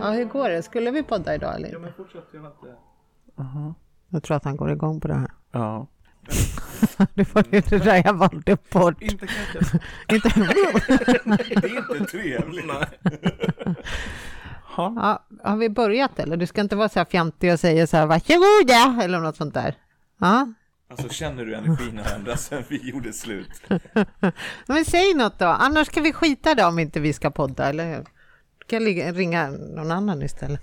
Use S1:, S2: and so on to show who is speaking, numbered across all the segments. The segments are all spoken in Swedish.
S1: Ja, hur går det? Skulle vi podda idag eller
S2: Ja
S1: inte?
S2: men fortsätt, jag har inte...
S3: Jaha. Jag tror att han går igång på det här.
S2: Ja.
S3: Det var ju det där jag valde bort.
S2: Inte kanske.
S3: Inte...
S4: Det är inte trevligt.
S2: Ha.
S3: ja, har vi börjat eller? Du ska inte vara så här fjantig och säga så här varsågoda eller något sånt där. Ja,
S4: Alltså känner du energin har ändrats sen vi gjorde slut?
S3: men säg något då. Annars kan vi skita då om inte vi ska podda, eller hur? Du kan ligga- ringa någon annan istället.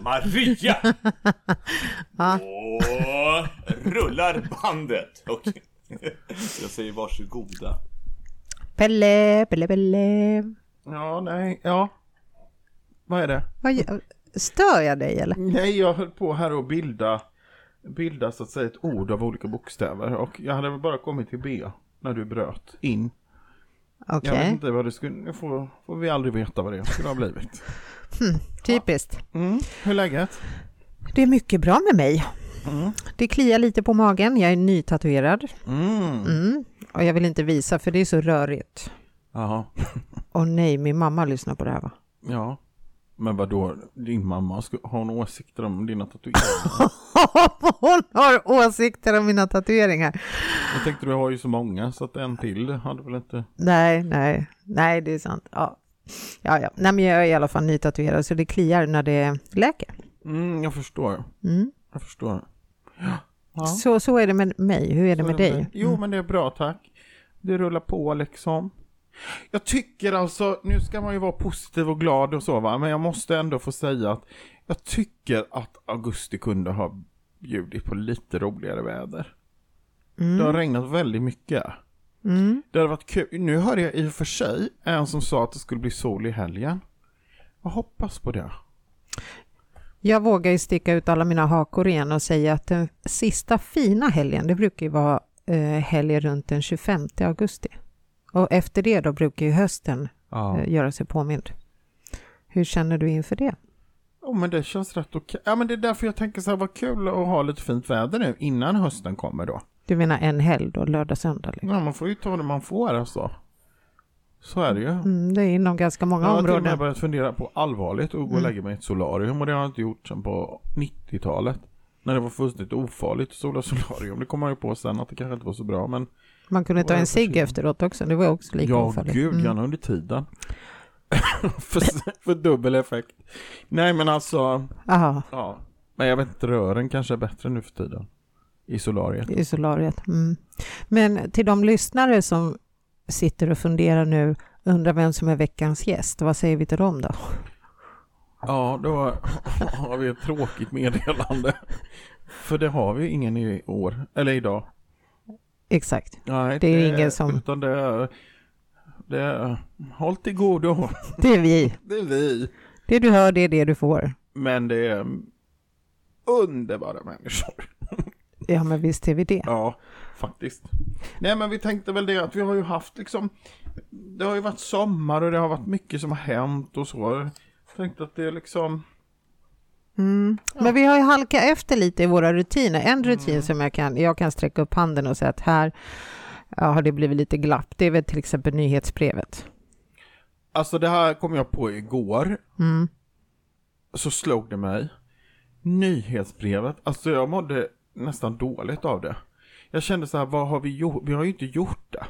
S4: Maria! Och rullar bandet! Okej. Jag säger varsågoda.
S3: Pelle, Pelle, Pelle.
S2: Ja, nej, ja. Vad är det?
S3: Vad gör- Stör jag dig eller?
S4: Mm.
S2: Nej, jag höll på här och bilda, bilda så att säga ett ord av olika bokstäver och jag hade väl bara kommit till B när du bröt in.
S3: Okej,
S2: Jag vet inte vad det skulle, nu får, får vi aldrig veta vad det skulle ha blivit.
S3: typiskt.
S2: Mm. Hur är läget?
S3: Det är mycket bra med mig. Det kliar lite på magen, jag är nytatuerad. Mm. Och jag vill inte visa för det är så rörigt.
S2: Jaha,
S3: Och nej, min mamma lyssnar på det här va?
S2: ja. Men vad då? din mamma, sku- har hon åsikter om dina tatueringar?
S3: Hon har åsikter om mina tatueringar.
S2: Jag tänkte du har ju så många så att en till hade väl inte...
S3: Nej, nej, nej det är sant. Ja. Ja, ja. Nej, men jag är i alla fall nytatuerad så det kliar när det läker.
S2: Mm, jag förstår.
S3: Mm.
S2: Jag förstår. Ja.
S3: Så, så är det med mig, hur är det med
S2: Så är det
S3: dig?
S2: Jo, men det är bra tack. Det rullar på liksom. Jag tycker alltså, nu ska man ju vara positiv och glad och så va, men jag måste ändå få säga att jag tycker att augusti kunde ha bjudit på lite roligare väder. Det har regnat väldigt mycket. Det hade varit kul. Nu hörde jag i och för sig en som sa att det skulle bli sol i helgen. Jag hoppas på det.
S3: Jag vågar ju sticka ut alla mina hakor igen och säga att den sista fina helgen, det brukar ju vara eh, helgen runt den 25 augusti. Och efter det då brukar ju hösten
S2: Ja.
S3: eh, göra sig påmind. Hur känner du inför det?
S2: Ja men det känns rätt okej. Ja men det är därför jag tänker så här, vad kul att ha lite fint väder nu innan hösten kommer då.
S3: Du menar en helg då, lördag, söndag? liksom?
S2: Ja, man får ju ta det man får alltså. Så är det ju.
S3: Mm, det är inom ganska många
S2: Jag har till och med
S3: områden.
S2: börjat fundera på allvarligt och gå och
S3: Mm.
S2: lägga mig i ett solarium och det har jag inte gjort sedan på 90-talet. När det var fullständigt ofarligt att sola solarium. Det kom man ju på sen att det kanske inte var så bra men
S3: Man kunde ta
S2: Vad är
S3: en
S2: det för
S3: cigg
S2: skillnad?
S3: efteråt också, det var också lika
S2: ja
S3: ofarligt.
S2: gud
S3: Mm.
S2: gärna under tiden. för, för dubbel effekt. Nej men alltså,
S3: Aha,
S2: ja. Men jag vet inte, rören kanske är bättre nu för tiden. I solariet.
S3: i solariet. Mm. Men till de lyssnare som sitter och funderar nu, undrar vem som är veckans gäst, vad säger vi till dem då?
S2: Ja, då har vi ett tråkigt meddelande. För det har vi ju ingen i år, eller idag.
S3: Exakt.
S2: Nej,
S3: Det är ju ingen som-
S2: Utan det är... Det är... Håll till godo.
S3: Det är vi.
S2: Det är vi.
S3: Det du hör, det är det du får.
S2: Men det är underbara människor.
S3: Ja, men visst är vi det.
S2: Ja, faktiskt. Nej, men vi tänkte väl det att vi har ju haft liksom... Det har ju varit sommar och det har varit mycket som har hänt och så. Jag tänkte att det är liksom...
S3: Mm. Men vi har ju halkat efter lite i våra rutiner.
S2: Mm.
S3: En rutin som jag kan, jag kan sträcka upp handen och säga att här ja, har det blivit lite glapp. Det är väl till exempel nyhetsbrevet.
S2: Alltså det här kom jag på igår.
S3: Mm.
S2: så slog det mig. Nyhetsbrevet, alltså jag mådde nästan dåligt av det. Jag kände så här, vad har vi gjort? Vi har ju inte gjort det.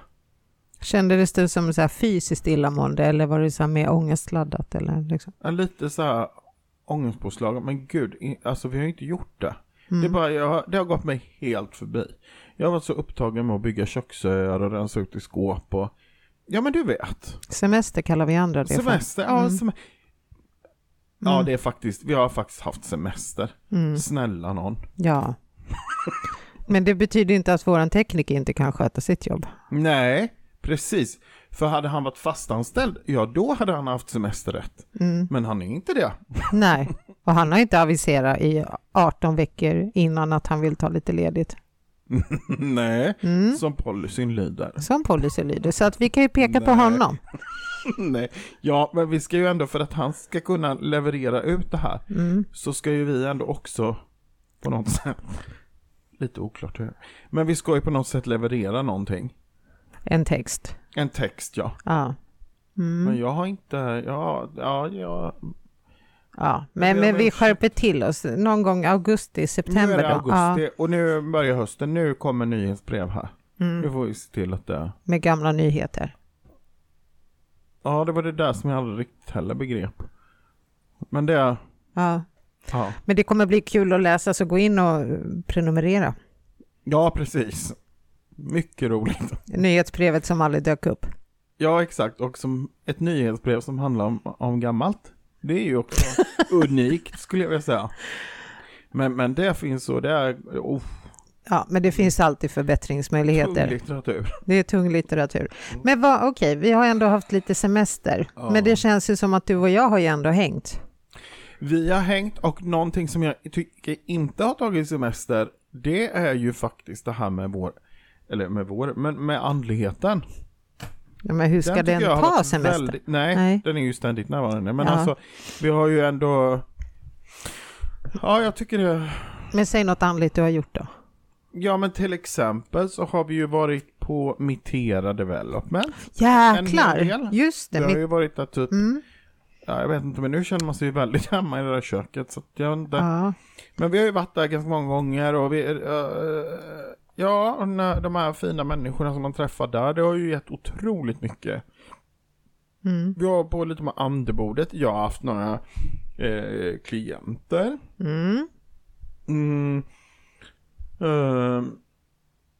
S3: Kändes det som så här fysiskt illamående eller var det så här mer ångestladdat? Eller liksom?
S2: Jag är Lite så här ångestpåslag, men gud, i- alltså vi har ju inte gjort det. Det, är bara, jag, det har gått mig helt förbi. Jag var så upptagen med att bygga köksöar och rensa ut i skåp och Ja men du vet.
S3: Semester kallar vi andra det för.
S2: Semester, Mm. ja sem- Mm. Ja det är faktiskt, vi har faktiskt haft semester. Snälla någon.
S3: Ja. Men det betyder inte att våran tekniker inte kan sköta sitt jobb.
S2: Nej, precis. För hade han varit fastanställd, ja då hade han haft semesterrätt.
S3: Mm.
S2: Men han är inte det.
S3: Nej, och han har inte aviserat i 18 veckor innan att han vill ta lite ledigt.
S2: Nej, som policyn lyder.
S3: Som policy lyder, så att vi kan ju peka på
S2: Nej.
S3: honom.
S2: Nej, ja men vi ska ju ändå för att han ska kunna leverera ut det här
S3: Mm.
S2: så ska ju vi ändå också på något sätt, lite oklart hur, men vi ska ju på något sätt leverera någonting.
S3: En text.
S2: En text ja.
S3: Ja. Mm.
S2: Men jag har inte, ja, ja, jag
S3: Ja, men,
S2: Ja,
S3: men
S2: men-
S3: vi skärper till oss någon gång augusti,
S2: Nu
S3: september.
S2: är det
S3: då.
S2: augusti och nu börjar hösten. Nu kommer nyhetsbrev här.
S3: Ja, mm,
S2: Nu får vi se till att det...
S3: med gamla nyheter.
S2: Ja, det var det där som jag aldrig riktigt heller begrep. Men det...
S3: Ja.
S2: Ja,
S3: Men det kommer bli kul att läsa, så gå in och eh, prenumerera.
S2: ja precis. Mycket roligt.
S3: Nyhetsbrevet som aldrig dök upp.
S2: Ja, exakt. Och som ett nyhetsbrev som handlar om, om gammalt. Det är ju också unikt skulle jag vilja säga. Men, men det finns så, det är oh,
S3: Ja, men det finns alltid förbättringsmöjligheter.
S2: tung litteratur.
S3: Det är tung litteratur. Men vad, okej, vi har ändå haft lite semester.
S2: Mm. Ja.
S3: Men det känns ju som att du och jag har ju ändå hängt.
S2: Vi har hängt och någonting som jag tycker inte har tagit semester, det är ju faktiskt det här med vår, eller med vår, men med andligheten.
S3: Ja, men hur ska den,
S2: tycker jag har
S3: ta
S2: varit
S3: semester?
S2: väldigt- nej,
S3: Nej.
S2: den är ju ständigt närvarande. Men
S3: Ja.
S2: alltså, vi har ju ändå... Ja, jag tycker det.
S3: Men säg något andligt du har gjort då.
S2: Ja, men till exempel så har vi ju varit på Mitera Development. En hel
S3: Jäklar!
S2: del.
S3: Just
S2: Det
S3: det.
S2: har
S3: Mitt,
S2: ju varit där typ,
S3: mm,
S2: ja, jag vet inte, men nu känner man sig ju väldigt hemma i det där köket. Så att jag inte...
S3: ja.
S2: Men vi har ju varit där ganska många gånger och vi... eh, ja, och när, de här fina människorna som man träffar där, det har ju gett otroligt mycket.
S3: Mm,
S2: Vi har på lite med andebordet. Jag har haft några eh, klienter.
S3: mm.
S2: Mm. Ehm,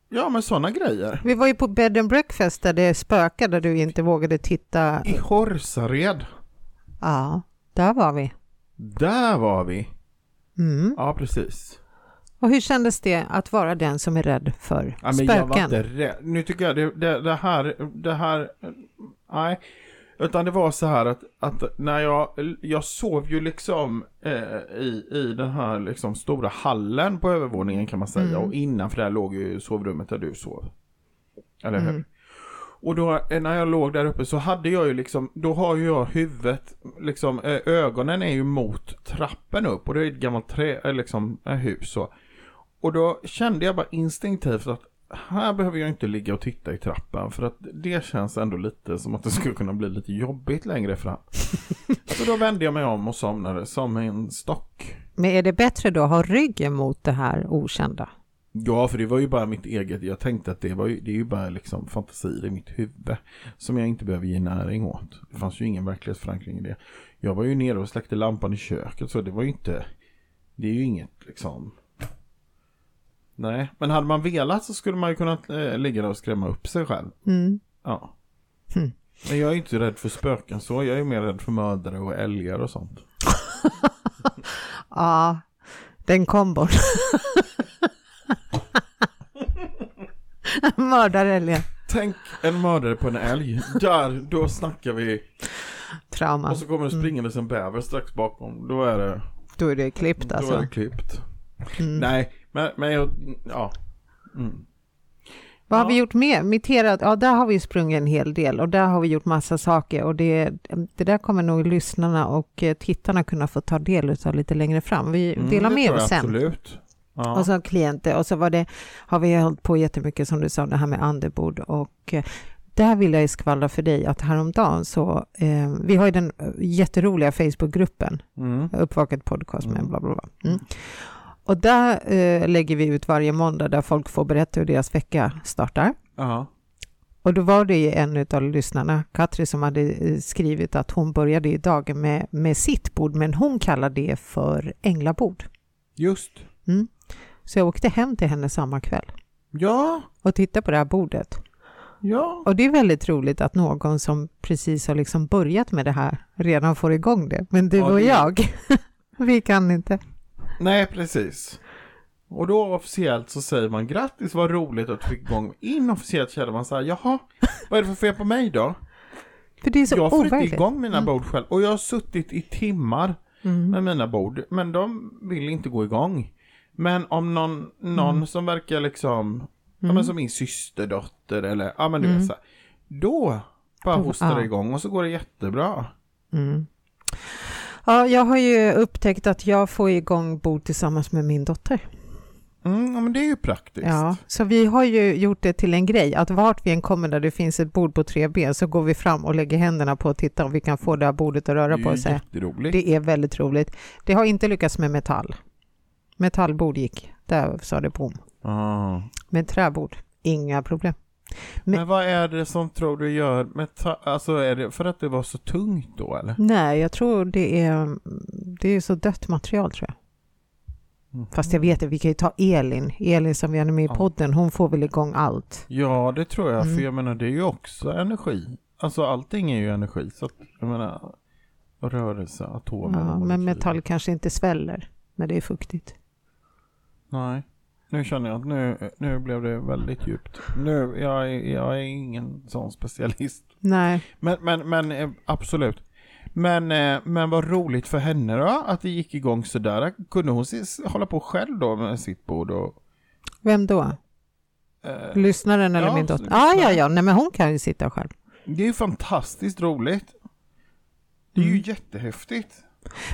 S2: ja, men sådana grejer.
S3: Vi var ju på bed and breakfast där det spökade där du inte vågade titta.
S2: I Horsared.
S3: Ja, där var vi.
S2: Där var vi.
S3: Mm.
S2: Ja, precis.
S3: Och hur kändes det att vara den som är rädd för
S2: Ja, men jag var
S3: spöken?
S2: inte rädd. Nu tycker jag det, det, det här, det här, nej. Utan det var så här att, att när jag, jag sov ju liksom eh, i, i den här liksom stora hallen på övervåningen kan man säga. Och innanför där låg ju sovrummet där du sov. Eller hur? Och då eh, när jag låg där uppe så hade jag ju liksom, då har ju jag huvudet, liksom eh, ögonen är ju mot trappen upp och det är ett gammalt trä, eh, liksom eh, hus så. Och då kände jag bara instinktivt att här behöver jag inte ligga och titta i trappen för att det känns ändå lite som att det skulle kunna bli lite jobbigt längre fram. så då vände jag mig om och somnade som en stock.
S3: Men är det bättre då att ha ryggen mot det här okända?
S2: Ja, för det var ju bara mitt eget. Jag tänkte att det, var ju, det är ju bara liksom fantasier i mitt huvud som jag inte behöver ge näring åt. Det fanns ju ingen verklighetsförankring i det. Jag var ju nere och släckte lampan i köket så det var ju inte, det är ju inget liksom. Nej, men hade man velat så skulle man ju kunnat eh, ligga där och skrämma upp sig själv.
S3: Mm.
S2: Ja.
S3: Hmm.
S2: Men jag är ju inte rädd för spöken så, jag är ju mer rädd för mördare och älgar och sånt.
S3: Ja, den kombon. Mördarälgen.
S2: Tänk en mördare på en älg. Där, då snackar vi
S3: Trauma.
S2: Och så kommer det
S3: Mm.
S2: springandes en bäver strax bakom. Då är det,
S3: Då är det klippt
S2: då är
S3: alltså.
S2: det klippt.
S3: Mm.
S2: Nej, men, men jag, ja. Mm.
S3: Vad har
S2: Ja.
S3: vi gjort mer? Mitterat, ja där har vi sprungit en hel del och där har vi gjort massa saker och det, det där kommer nog lyssnarna och eh, tittarna kunna få ta del av lite längre fram. Vi
S2: Mm,
S3: delar
S2: det
S3: med
S2: tror jag
S3: oss sen. Alltså-
S2: Absolut. Ja.
S3: Och så klienter och så var det, har vi hållit på jättemycket som du sa, det här med andebord och eh, där vill jag ju skvallra för dig att häromdagen så, eh, vi har ju den eh, jätteroliga Facebookgruppen
S2: mm.
S3: Uppvaket podcast med
S2: Mm.
S3: bla bla bla. Mm. Och där eh, lägger vi ut varje måndag där folk får berätta hur deras vecka startar.
S2: ja.
S3: Och då var det ju en av lyssnarna, Katri, som hade eh, skrivit att hon började i dagen med, med sitt bord, men hon kallar det för änglabord.
S2: Just.
S3: Så jag åkte hem till henne samma kväll
S2: Ja,
S3: och tittade på det här bordet.
S2: ja.
S3: Och det är väldigt roligt att någon som precis har liksom börjat med det här redan får igång det. Men du
S2: Ja,
S3: och
S2: det-
S3: jag, vi kan inte.
S2: Nej, precis. Och då officiellt så säger man grattis, vad roligt att du fick igång. Inofficiellt känner man så här, jaha, vad är det för fel på mig då?
S3: För det är så
S2: jag får inte
S3: overkligt.
S2: igång mina bord själv. Och jag har suttit i timmar
S3: Mm.
S2: med mina bord, men de vill inte gå igång. Men om någon, någon
S3: Mm.
S2: som verkar liksom, ja men som min systerdotter eller, ja men du vet så här, Då bara
S3: Mm. Då-
S2: hostar det
S3: ja.
S2: igång och så går det jättebra.
S3: Mm. Ja, jag har ju upptäckt att jag får igång bord tillsammans med min dotter.
S2: Mm, ja, men det är ju praktiskt.
S3: Ja, så vi har ju gjort det till en grej att vart vi än kommer där det finns ett bord på tre ben så går vi fram och lägger händerna på och tittar om vi kan få det här bordet att
S2: det
S3: röra
S2: är
S3: på
S2: ju
S3: sig.
S2: jätteroligt.
S3: Det är väldigt roligt. Det har inte lyckats med metall. Metallbord gick, där sa det bom.
S2: Ah.
S3: Men träbord, inga problem.
S2: Men...
S3: Men-
S2: vad är det som tror du gör med ta- alltså är det för att det var så tungt då eller?
S3: Nej, jag tror det är, det är så dött material tror jag.
S2: Mhm.
S3: Fast jag vet det, vi kan ju ta Elin, Elin som vi hade med i
S2: Ja.
S3: podden, hon får väl igång allt.
S2: Ja, det tror jag, för
S3: Mm.
S2: jag menar det är ju också energi. Alltså allting är ju energi, så att, jag menar rörelse, atomer.
S3: Ja,
S2: molekyler.
S3: men metall kanske inte sväller när det är fuktigt.
S2: Nej, nu känner jag att nu, nu blev det väldigt djupt. Nu, jag, är- jag är ingen sån specialist.
S3: Nej,
S2: Men, men, men eh, absolut. Men, eh, men vad roligt för henne då, att det gick igång sådär. Kunde hon se, hålla på själv då med sitt bord och...
S3: vem då?
S2: eh,
S3: Lyssnaren eller
S2: ja,
S3: min dotter? Ja,
S2: lyssnaren.
S3: ja, ja, nej men hon kan ju sitta själv.
S2: Det är ju fantastiskt roligt. Det är ju
S3: Mm.
S2: jättehäftigt.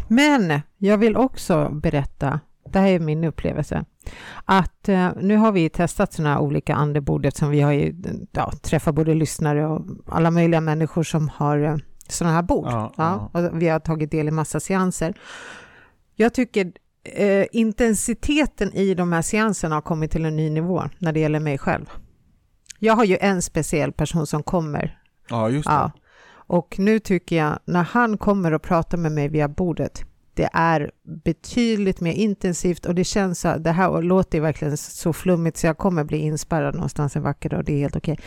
S3: Men jag vill också berätta, det här är min upplevelse, att eh, nu har vi testat sådana olika andebord eftersom vi har ju, ja, träffat både lyssnare och alla möjliga människor som har eh, sådana här bord.
S2: Ja,
S3: Ja, och vi har tagit del i massa seanser. Jag tycker eh, intensiteten i de här seanserna har kommit till en ny nivå när det gäller mig själv. Jag har ju en speciell person som kommer
S2: Ja, just
S3: Ja. Och nu tycker jag, när han kommer och pratar med mig via bordet, det är betydligt mer intensivt och det känns så här, det här låter ju verkligen så flummigt så jag kommer bli inspärrad någonstans en vacker dag, det är helt okej.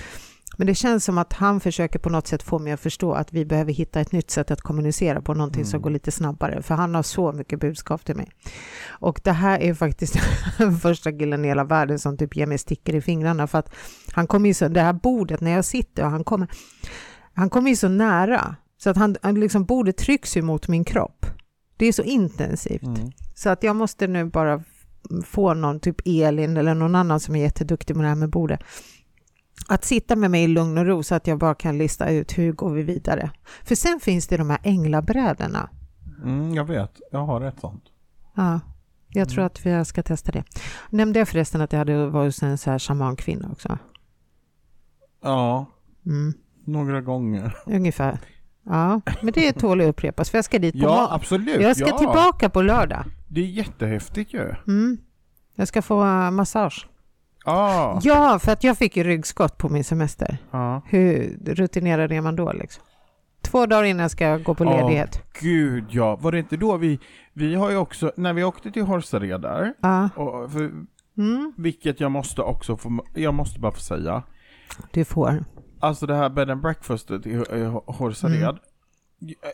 S3: Men det känns som att han försöker på något sätt få mig att förstå att vi behöver hitta ett nytt sätt att kommunicera på, någonting som
S2: Mm.
S3: går lite snabbare, för han har så mycket budskap till mig. Och det här är faktiskt den första killen i hela världen som typ ger mig stickor i fingrarna, för att han kommer ju så, det här bordet när jag sitter och han kommer, han kommer ju så nära, så att han, han liksom, bordet trycks ju mot min kropp. Det är så intensivt.
S2: Mm.
S3: Så att jag måste nu bara få någon, typ Elin eller någon annan som är jätteduktig med det här med bordet, att sitta med mig i lugn och ro så att jag bara kan lista ut hur går vi vidare. För sen finns det de här änglabrädorna.
S2: Mm, jag vet, jag har ett sånt.
S3: Ja, jag tror att vi ska testa det. Nämnde jag förresten att jag hade varit hos en så här shamankvinna också?
S2: Ja,
S3: Mm,
S2: några gånger.
S3: ungefär. Ja, men det tål att upprepas för jag ska dit på
S2: Ja,
S3: må-
S2: absolut.
S3: Jag ska
S2: ja.
S3: tillbaka på lördag.
S2: Det är jättehäftigt ju.
S3: Mm. Jag ska få eh, massage.
S2: Ja.
S3: Ja, för att jag fick ju ryggskott på min semester.
S2: ja.
S3: Hur rutinerad är man då liksom? Två dagar innan ska jag gå på
S2: Ja.
S3: ledighet.
S2: Gud ja, var det inte då vi, vi har ju också, när vi åkte till Horsared där,
S3: Ja.
S2: och, för,
S3: Mm.
S2: vilket jag måste också få, jag måste bara få säga,
S3: Du får.
S2: Alltså det här bed and breakfastet i i Horsared.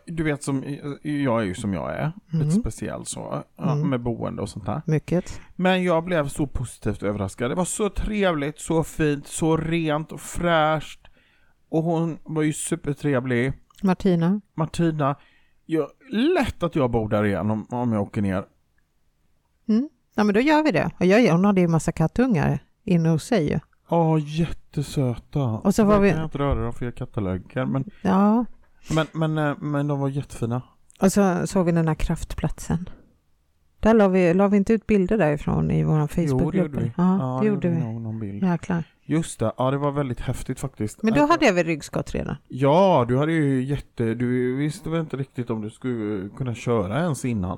S2: Du vet som, jag är ju som jag är. Lite
S3: Mm.
S2: speciell så. ja,
S3: Mm.
S2: Med boende och sånt där.
S3: Mycket.
S2: Men jag blev så positivt överraskad. Det var så trevligt, så fint, så rent och fräscht. Och hon var ju supertrevlig.
S3: Martina.
S2: Martina, jag, lätt att jag bor där igen om, om jag åker ner.
S3: Mm. Ja, men då gör vi det. Och jag, hon hade ju massa kattungar inne hos sig ju.
S2: Ja, jättesöta.
S3: Och så var
S2: Jag
S3: vi-
S2: kan inte röra dem för jag är kattallergiker. Men,
S3: Ja,
S2: men, men, eh, men de var jättefina.
S3: Och så såg vi den här kraftplatsen. Där la vi, la vi inte ut bilder därifrån i vår Facebookgrupp?
S2: Jo, det gjorde vi.
S3: Ja, det gjorde vi.
S2: nog Någon bild.
S3: Jäklar.
S2: Just det, ja det var väldigt häftigt faktiskt.
S3: Men då
S2: Alltså-
S3: hade jag väl ryggskott redan?
S2: Ja, du hade ju jätte... Du visste väl inte riktigt om du skulle kunna köra ens innan.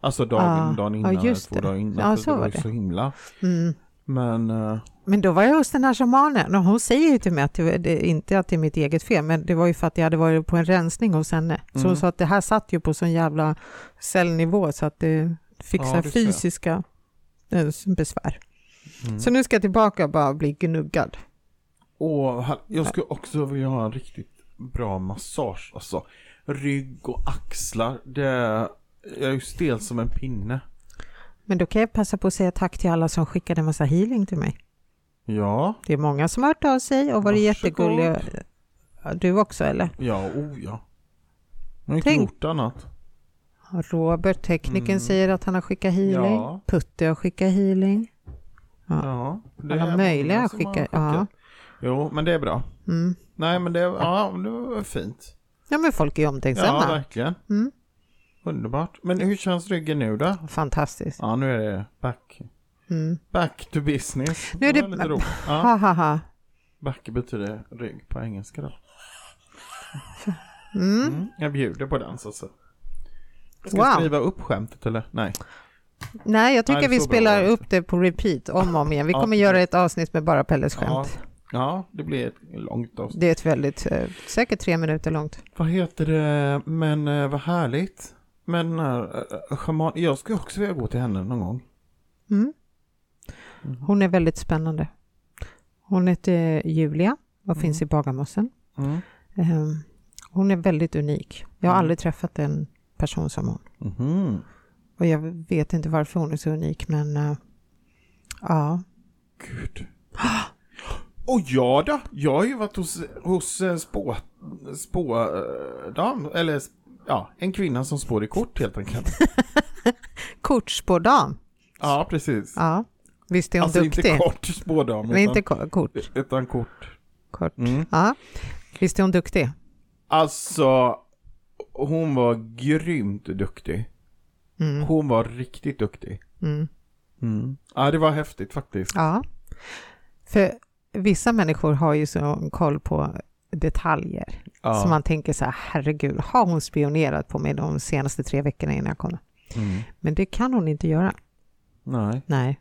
S2: Alltså dagen,
S3: Ah,
S2: dagen
S3: ja,
S2: innan, eller
S3: just
S2: två
S3: det.
S2: dagar innan.
S3: Ja,
S2: för
S3: så var
S2: ju
S3: det.
S2: så himla.
S3: Mm.
S2: Men... eh,
S3: Men då var jag hos den här shamanen och hon säger ju till mig att det, det, inte att det är mitt eget fel, men det var ju för att jag hade varit på en rensning hos henne. Så
S2: Mm.
S3: hon sa att det här satt ju på sån jävla cellnivå så att det fick
S2: Ja,
S3: så här
S2: det ser jag.
S3: fysiska eh, besvär.
S2: Mm.
S3: Så nu ska jag tillbaka och bara bli gnuggad.
S2: Åh, här- jag skulle också vilja ha en riktigt bra massage. Alltså, rygg och axlar. Det... Jag är ju stel som en pinne.
S3: Men då kan jag passa på att säga tack till alla som skickade en massa healing till mig.
S2: Ja,
S3: Det är många som har hört av sig och varit
S2: Varsågod.
S3: jättegulliga. Ja, Du också eller?
S2: ja, oh ja. Jag har inte
S3: Tänk-
S2: gjort annat.
S3: Robert, tekniken,
S2: Mm.
S3: säger att han har skickat healing.
S2: Ja.
S3: Putte har skickat healing. Ja.
S2: Ja. det
S3: Alla
S2: är
S3: möjliga
S2: många som har
S3: skickar- ja.
S2: Jo, men det är bra.
S3: Mm.
S2: Nej, men det, ja, det var fint.
S3: Ja men folk är
S2: Ja,
S3: omtänksamma.
S2: verkligen.
S3: Mm.
S2: Underbart. Men hur känns ryggen nu då?
S3: Fantastiskt.
S2: Ja, nu är det back.
S3: Mm.
S2: Back to business.
S3: Nu är det-
S2: var lite roligt. Ja,
S3: Ha, ha, ha.
S2: back betyder rygg på engelska då.
S3: Mm.
S2: Mm. Jag bjuder på den så att säga. Ska jag
S3: Wow.
S2: skriva upp skämtet eller? Nej.
S3: Nej, jag tycker
S2: Nej, det
S3: vi
S2: får bra
S3: spelar
S2: vara.
S3: upp det på repeat om och om igen. Vi
S2: Ja.
S3: kommer göra ett avsnitt med bara Pelles
S2: Ja,
S3: skämt.
S2: ja, det blir ett långt avsnitt.
S3: Det är ett väldigt, eh, säkert tre minuter långt.
S2: Vad heter det? Men eh, vad härligt. Men eh, eh, schaman, jag skulle också vilja gå till henne någon gång.
S3: Mm.
S2: Mm.
S3: Hon är väldigt spännande. Hon heter eh, Julia och
S2: Mm.
S3: finns i Bagarmossen.
S2: Mm.
S3: Ehm, Hon är väldigt unik. Jag har
S2: Mm.
S3: aldrig träffat en person som hon.
S2: Mhm.
S3: Och jag vet inte varför hon är så unik, men eh, ja.
S2: Gud. Och jag då? Jag har ju varit hos, hos eh, spå... spå eh, dam, eller s- ja, en kvinna som spår i kort helt enkelt.
S3: Kortspådam.
S2: Ja, precis.
S3: Ja, visst är hon
S2: Alltså
S3: duktig?
S2: inte kort spådam,
S3: Men
S2: utan,
S3: inte ko- kort.
S2: utan kort.
S3: kort.
S2: Mm.
S3: Ja. Visst är hon duktig?
S2: Alltså, hon var grymt duktig.
S3: Mm.
S2: Hon var riktigt duktig.
S3: Mm.
S2: Mm. Ja, det var häftigt faktiskt.
S3: Ja. För vissa människor har ju sån koll på detaljer.
S2: Ja.
S3: Så man tänker så här, herregud, har hon spionerat på mig de senaste tre veckorna innan jag kom?
S2: Mm.
S3: Men det kan hon inte göra.
S2: Nej,
S3: Nej.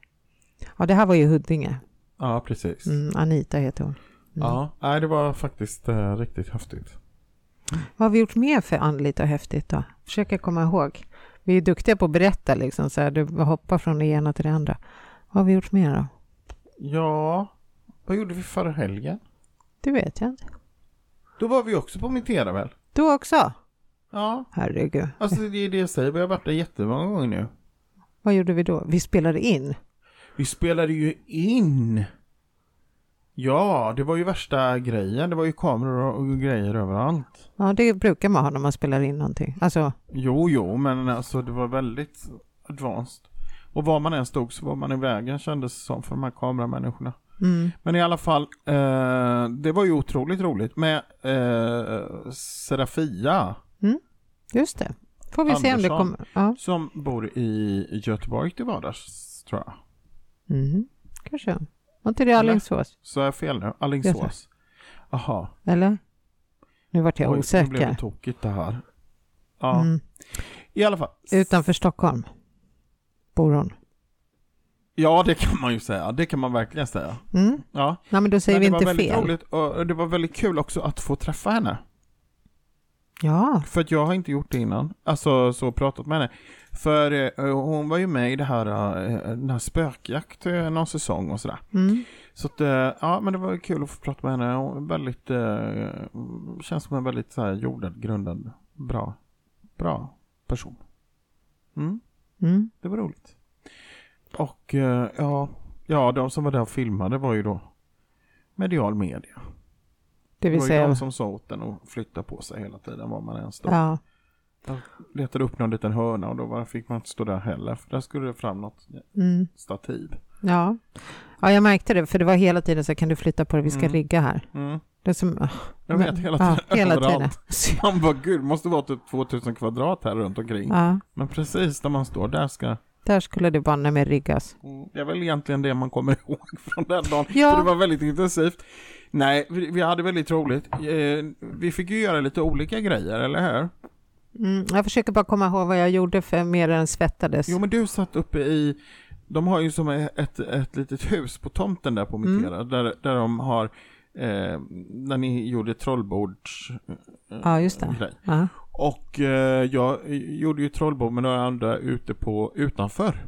S3: Ja, det här var ju Huddinge.
S2: ja precis.
S3: Mm, Anita heter hon. Mm.
S2: Ja, nej, det var faktiskt eh, riktigt häftigt.
S3: Vad har vi gjort mer för anlita och häftigt då? Försöker komma ihåg. Vi är duktiga på att berätta liksom så här, du hoppar från det ena till det andra. Vad har vi gjort mer då?
S2: Ja, vad gjorde vi förra helgen?
S3: Det vet jag inte.
S2: Då var vi också på Mitera väl?
S3: Du också?
S2: Ja,
S3: Herregud.
S2: alltså det är det jag säger, vi har varit där jättemånga gånger nu.
S3: Vad gjorde vi då? Vi spelade in.
S2: Vi spelade ju in! Ja, det var ju värsta grejen, det var ju kameror och grejer överallt.
S3: Ja, det brukar man ha när man spelar in någonting. Alltså,
S2: Jo, jo, men alltså det var väldigt advanced. Och var man än stod så var man i vägen kändes det som för de här kameramänniskorna.
S3: mm,
S2: Men i alla fall, eh, det var ju otroligt roligt med eh, Serafia
S3: just det. Får vi se om det
S2: Andersson.
S3: kommer. Ja.
S2: som bor i Göteborg till vardags tror jag.
S3: Mm, kanske. Var inte det Alingsås?
S2: Så är jag fel nu?
S3: Jag
S2: Alingsås? Jaha.
S3: Eller? Nu vart jag
S2: Oj, nu blev det
S3: osäker.
S2: tokigt det här. Ja,
S3: Mm.
S2: i alla fall.
S3: Utanför Stockholm bor hon.
S2: Ja, det kan man ju säga. Det kan man verkligen säga.
S3: Mm.
S2: Ja,
S3: Nej, men då säger
S2: men det
S3: vi inte
S2: var väldigt
S3: fel.
S2: roligt och det var väldigt kul också att få träffa henne.
S3: Ja,
S2: För att jag har inte gjort det innan. Alltså så pratat med henne. För eh, hon var ju med i det här, eh, den här spökjakt eh, någon säsong och sådär.
S3: mm.
S2: Så att, eh, ja men det var kul att få prata med henne. Hon är väldigt, eh, känns som en väldigt så här jordad, grundad, bra, bra person. Mm,
S3: Mm.
S2: det var roligt. Och eh, ja, ja, de som var där och filmade var ju då medial media.
S3: det
S2: Det
S3: vill
S2: var ju
S3: säga.
S2: de som sa åt den att flytta på sig hela tiden var man än stod.
S3: Ja.
S2: Letade upp någon liten hörna och då var, fick man inte stå där heller för där skulle det fram något
S3: Mm.
S2: stativ.
S3: Ja. ja, jag märkte det, för det var hela tiden så här, kan du flytta på det, vi ska
S2: Mm.
S3: rigga här.
S2: Mm.
S3: Det är som,
S2: Jag vet hela
S3: ja,
S2: tiden,
S3: hela tiden.
S2: överallt. Man bara gud, det måste vara typ 2000 kvadrat här runt omkring.
S3: Ja,
S2: Men precis när man står där ska...
S3: där skulle det banne mig riggas.
S2: Det är väl egentligen det man kommer ihåg från den dagen.
S3: Ja.
S2: För det var väldigt intensivt. Nej, vi, vi hade väldigt roligt. Eh, vi fick ju göra lite olika grejer, eller hur?
S3: Mm, jag försöker bara komma ihåg vad jag gjorde för mer än svettades.
S2: Jo, men du satt uppe i... De har ju som ett, ett litet hus på tomten där på
S3: Mm.
S2: Mitera, där, där de har... Eh, när ni gjorde trollbords... eh,
S3: Ja, just det.
S2: grej.
S3: Ja.
S2: Och eh, jag gjorde ju trollbord med några andra ute på utanför,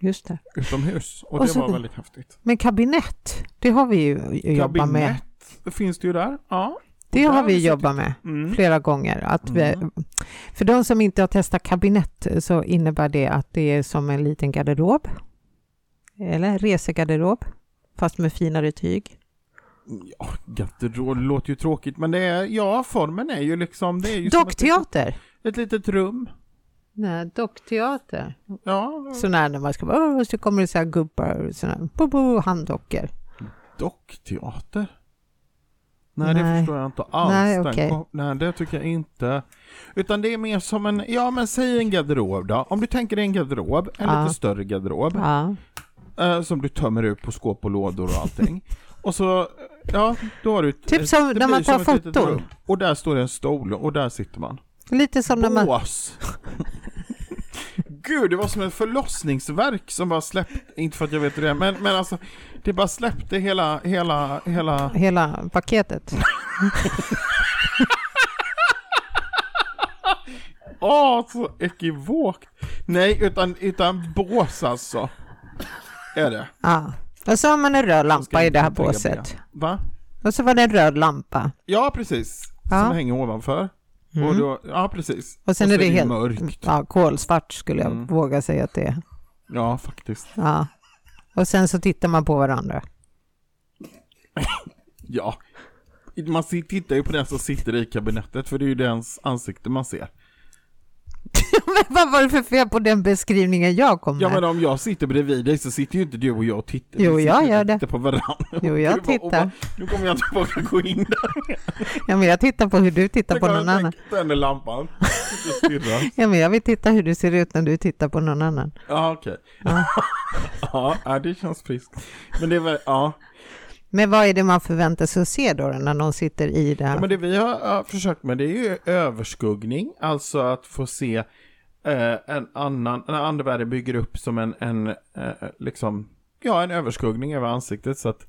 S3: Just det.
S2: utomhus. Och,
S3: Och
S2: det
S3: så-
S2: var väldigt häftigt.
S3: Men kabinett, det har vi ju jobbat med.
S2: Kabinett finns det ju där. Ja.
S3: Det
S2: Och där
S3: har
S2: har vi
S3: vi
S2: suttit-
S3: jobbat med
S2: Mm.
S3: flera gånger. Att vi,
S2: Mm.
S3: för de som inte har testat kabinett eh, så innebär det att det är som en liten garderob. Eller resegarderob, fast med finare tyg.
S2: Mm, Ja, garderob låter ju tråkigt men det är, ja formen är ju liksom, det är ju som ett, litet-
S3: Dockteater!
S2: ett litet rum.
S3: Nej, dockteater.
S2: Ja,
S3: Sån där när man ska bara, "Åh", så kommer det så här gubbar, sån här, bo, bo, handdockor.
S2: dockteater. Nej, det
S3: Nej.
S2: förstår jag inte alls.
S3: Nej,
S2: Den
S3: okej.
S2: kom- Nej, det tycker jag inte. Utan det är mer som en, ja men säg en garderob då. Om du tänker dig en garderob, en
S3: Ja.
S2: lite större garderob.
S3: Ja.
S2: eh, som du tömmer ut på skåp och lådor och allting. och så, ja, då har du... ett-
S3: Typ som
S2: det
S3: när man
S2: blir som
S3: tar
S2: ett litet
S3: foton.
S2: rum. Och där står det en stol och där sitter man.
S3: Lite som när man...
S2: Bås! Gud, det var som en förlossningsverk som bara släppte, inte för att jag vet hur det är, men, men alltså, det bara släppte hela, hela, hela...
S3: Hela paketet.
S2: Åh, så ekivokt! Nej, utan, utan bås alltså. Är det.
S3: Ja. Och så har man en röd
S2: Ska
S3: lampa i
S2: inte
S3: det här
S2: tänka på
S3: båset.
S2: Va?
S3: Och så var det en röd lampa.
S2: Ja, precis.
S3: Ja. Mm.
S2: Som hänger ovanför. Och då, ja, precis.
S3: Och sen är det
S2: ju
S3: helt
S2: mörkt. Mm.
S3: Ja, kolsvart skulle jag våga säga att det är.
S2: Ja, faktiskt.
S3: Ja. Och sen så tittar man på varandra.
S2: Ja. Man ser- tittar ju på den som sitter i kabinettet, för det är ju dens ansikte man ser.
S3: Men vad var det för fel på den beskrivningen jag kom med?
S2: Ja, men om jag sitter bredvid dig så sitter ju inte du och jag och tittar. Vi
S3: Jo,
S2: sitter
S3: jag
S2: och
S3: gör det.
S2: Tittar på varandra.
S3: Jo, jag
S2: Och bara- och bara,
S3: tittar.
S2: Nu kommer jag tillbaka och gå in där.
S3: ja, men jag tittar på hur du tittar på någon annan.
S2: Tänder lampan. Sitter och stirrar.
S3: Ja, men jag vill titta hur du ser ut när du tittar på någon annan.
S2: Ja, okej. Ja. ja, det känns friskt. Men det var, ja.
S3: Men vad är det man förväntar sig att se då när någon sitter i det här?
S2: Ja, men det vi har ja, försökt med det är ju överskuggning, alltså att få se eh, en annan, en andevärlden bygger upp som en, en eh, liksom, ja en överskuggning över ansiktet så att eh,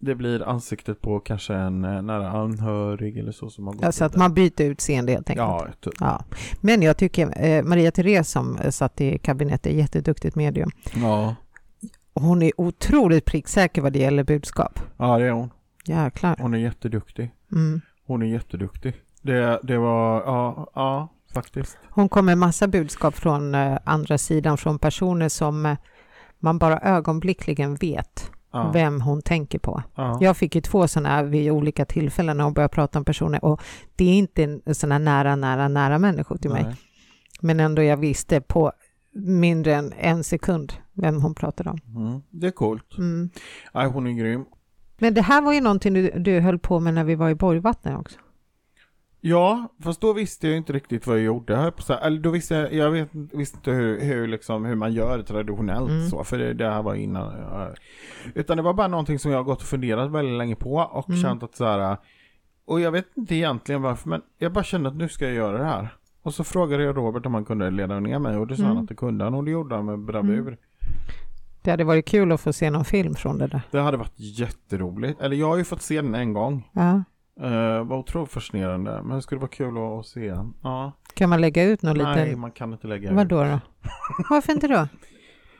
S2: det blir ansiktet på kanske en eh, nära anhörig eller så som har gått
S3: Ja, så Alltså att
S2: vidare.
S3: man byter utseende helt enkelt.
S2: Ja, typ.
S3: Ja. Men jag tycker eh, Maria Therese som eh, satt i kabinettet, är jätteduktigt medium.
S2: ja.
S3: Hon är otroligt pricksäker vad det gäller budskap.
S2: ja, det är hon.
S3: Jäklar.
S2: Hon är jätteduktig.
S3: Mm.
S2: Hon är jätteduktig. Det, det var, ja, ja, faktiskt.
S3: Hon kom med massa budskap från eh, andra sidan, från personer som eh, man bara ögonblickligen vet
S2: Ja,
S3: vem hon tänker på.
S2: ja.
S3: Jag fick ju två sådana här vid olika tillfällen när hon började prata om personer och det är inte sådana nära, nära, nära människor till mig.
S2: Nej.
S3: Men ändå jag visste på mindre än en sekund vem hon pratade om.
S2: Mm. Det är coolt.
S3: Mm.
S2: Nej, hon är grym.
S3: Men det här var ju någonting du, du höll på med när vi var i Borgvattnet också.
S2: Ja, fast då visste jag inte riktigt vad jag gjorde. här på så här- Eller då visste jag, jag vet, inte- visste inte hur, hur, liksom, hur man gör traditionellt
S3: Mm.
S2: så, för det, det här var innan. jag- Utan det var bara någonting som jag har gått och funderat väldigt länge på och
S3: Mm.
S2: känt att så här, och jag vet inte egentligen varför, men jag bara kände att nu ska jag göra det här. Och så frågade jag Robert om han kunde leda ner mig och det sa
S3: Mm.
S2: han att det kunde han och det gjorde han med bravur.
S3: Mm. Det hade varit kul att få se någon film från det där.
S2: Det hade varit jätteroligt. Eller jag har ju fått se den en gång.
S3: Ja.
S2: Uh, var otroligt fascinerande, men det skulle vara kul att, att se. Ja.
S3: Kan man lägga ut någon
S2: Nej,
S3: liten...
S2: man kan inte lägga ut.
S3: Vadå då? Varför inte då?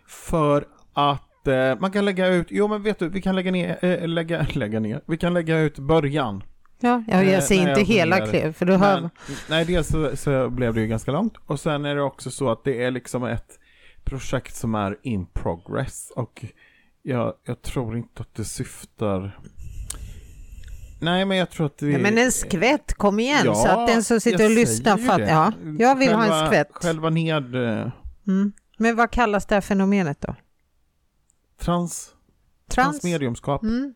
S2: För att eh, man kan lägga ut, jo men vet du, vi kan lägga ner, eh, lägga, lägga ner, vi kan lägga ut början.
S3: Ja, jag,
S2: Eh,
S3: jag ser
S2: nej,
S3: inte
S2: jag
S3: hela
S2: funderar.
S3: klipp, för då hör...
S2: Men, nej, dels så, så blev det ju ganska långt och sen är det också så att det är liksom ett projekt som är in progress och jag, jag tror inte att det syftar Nej men jag tror att vi...
S3: Ja, men en skvätt, kom igen,
S2: Ja,
S3: så att den som sitter
S2: jag
S3: och lyssnar
S2: säger ju
S3: fattar.
S2: det.
S3: Ja, jag vill ha en
S2: Själva-
S3: skvätt.
S2: Själva ned... Eh,
S3: Mm. Men vad kallas det här fenomenet då?
S2: trans...
S3: Trans?
S2: Transmediumskap.
S3: Mm.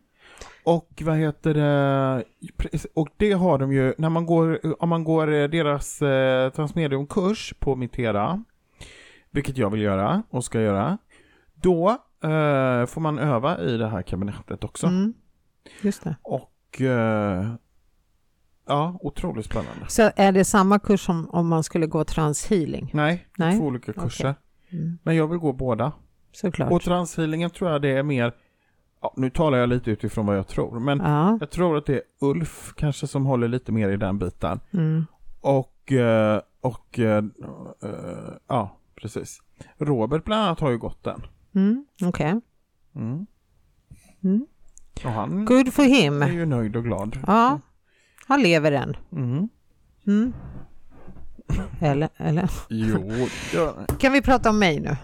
S2: Och vad heter det? Och det har de ju, när man går, om man går eh, deras eh, transmediumkurs på Mitera, vilket jag vill göra och ska göra, då eh, får man öva i det här kabinettet också.
S3: Mm. Just det.
S2: Och eh, ja, otroligt spännande.
S3: Så är det samma kurs som om man skulle gå transhealing?
S2: Nej,
S3: Nej,
S2: två olika kurser.
S3: Mm.
S2: Men jag vill gå båda.
S3: Såklart.
S2: Och transhealingen tror jag det är mer, ja, nu talar jag lite utifrån vad jag tror, men
S3: Ja.
S2: jag tror att det är Ulf kanske som håller lite mer i den biten.
S3: Mm.
S2: Och, eh, och, eh, eh, ja, precis. Robert bland annat har ju gått den.
S3: Mm. Okej.
S2: Mm.
S3: Mm.
S2: Och han
S3: Good for him.
S2: är ju nöjd och glad.
S3: Ja, han lever än.
S2: Mm.
S3: Mm. Eller, eller?
S2: Jo, ja.
S3: Kan vi prata om mig nu?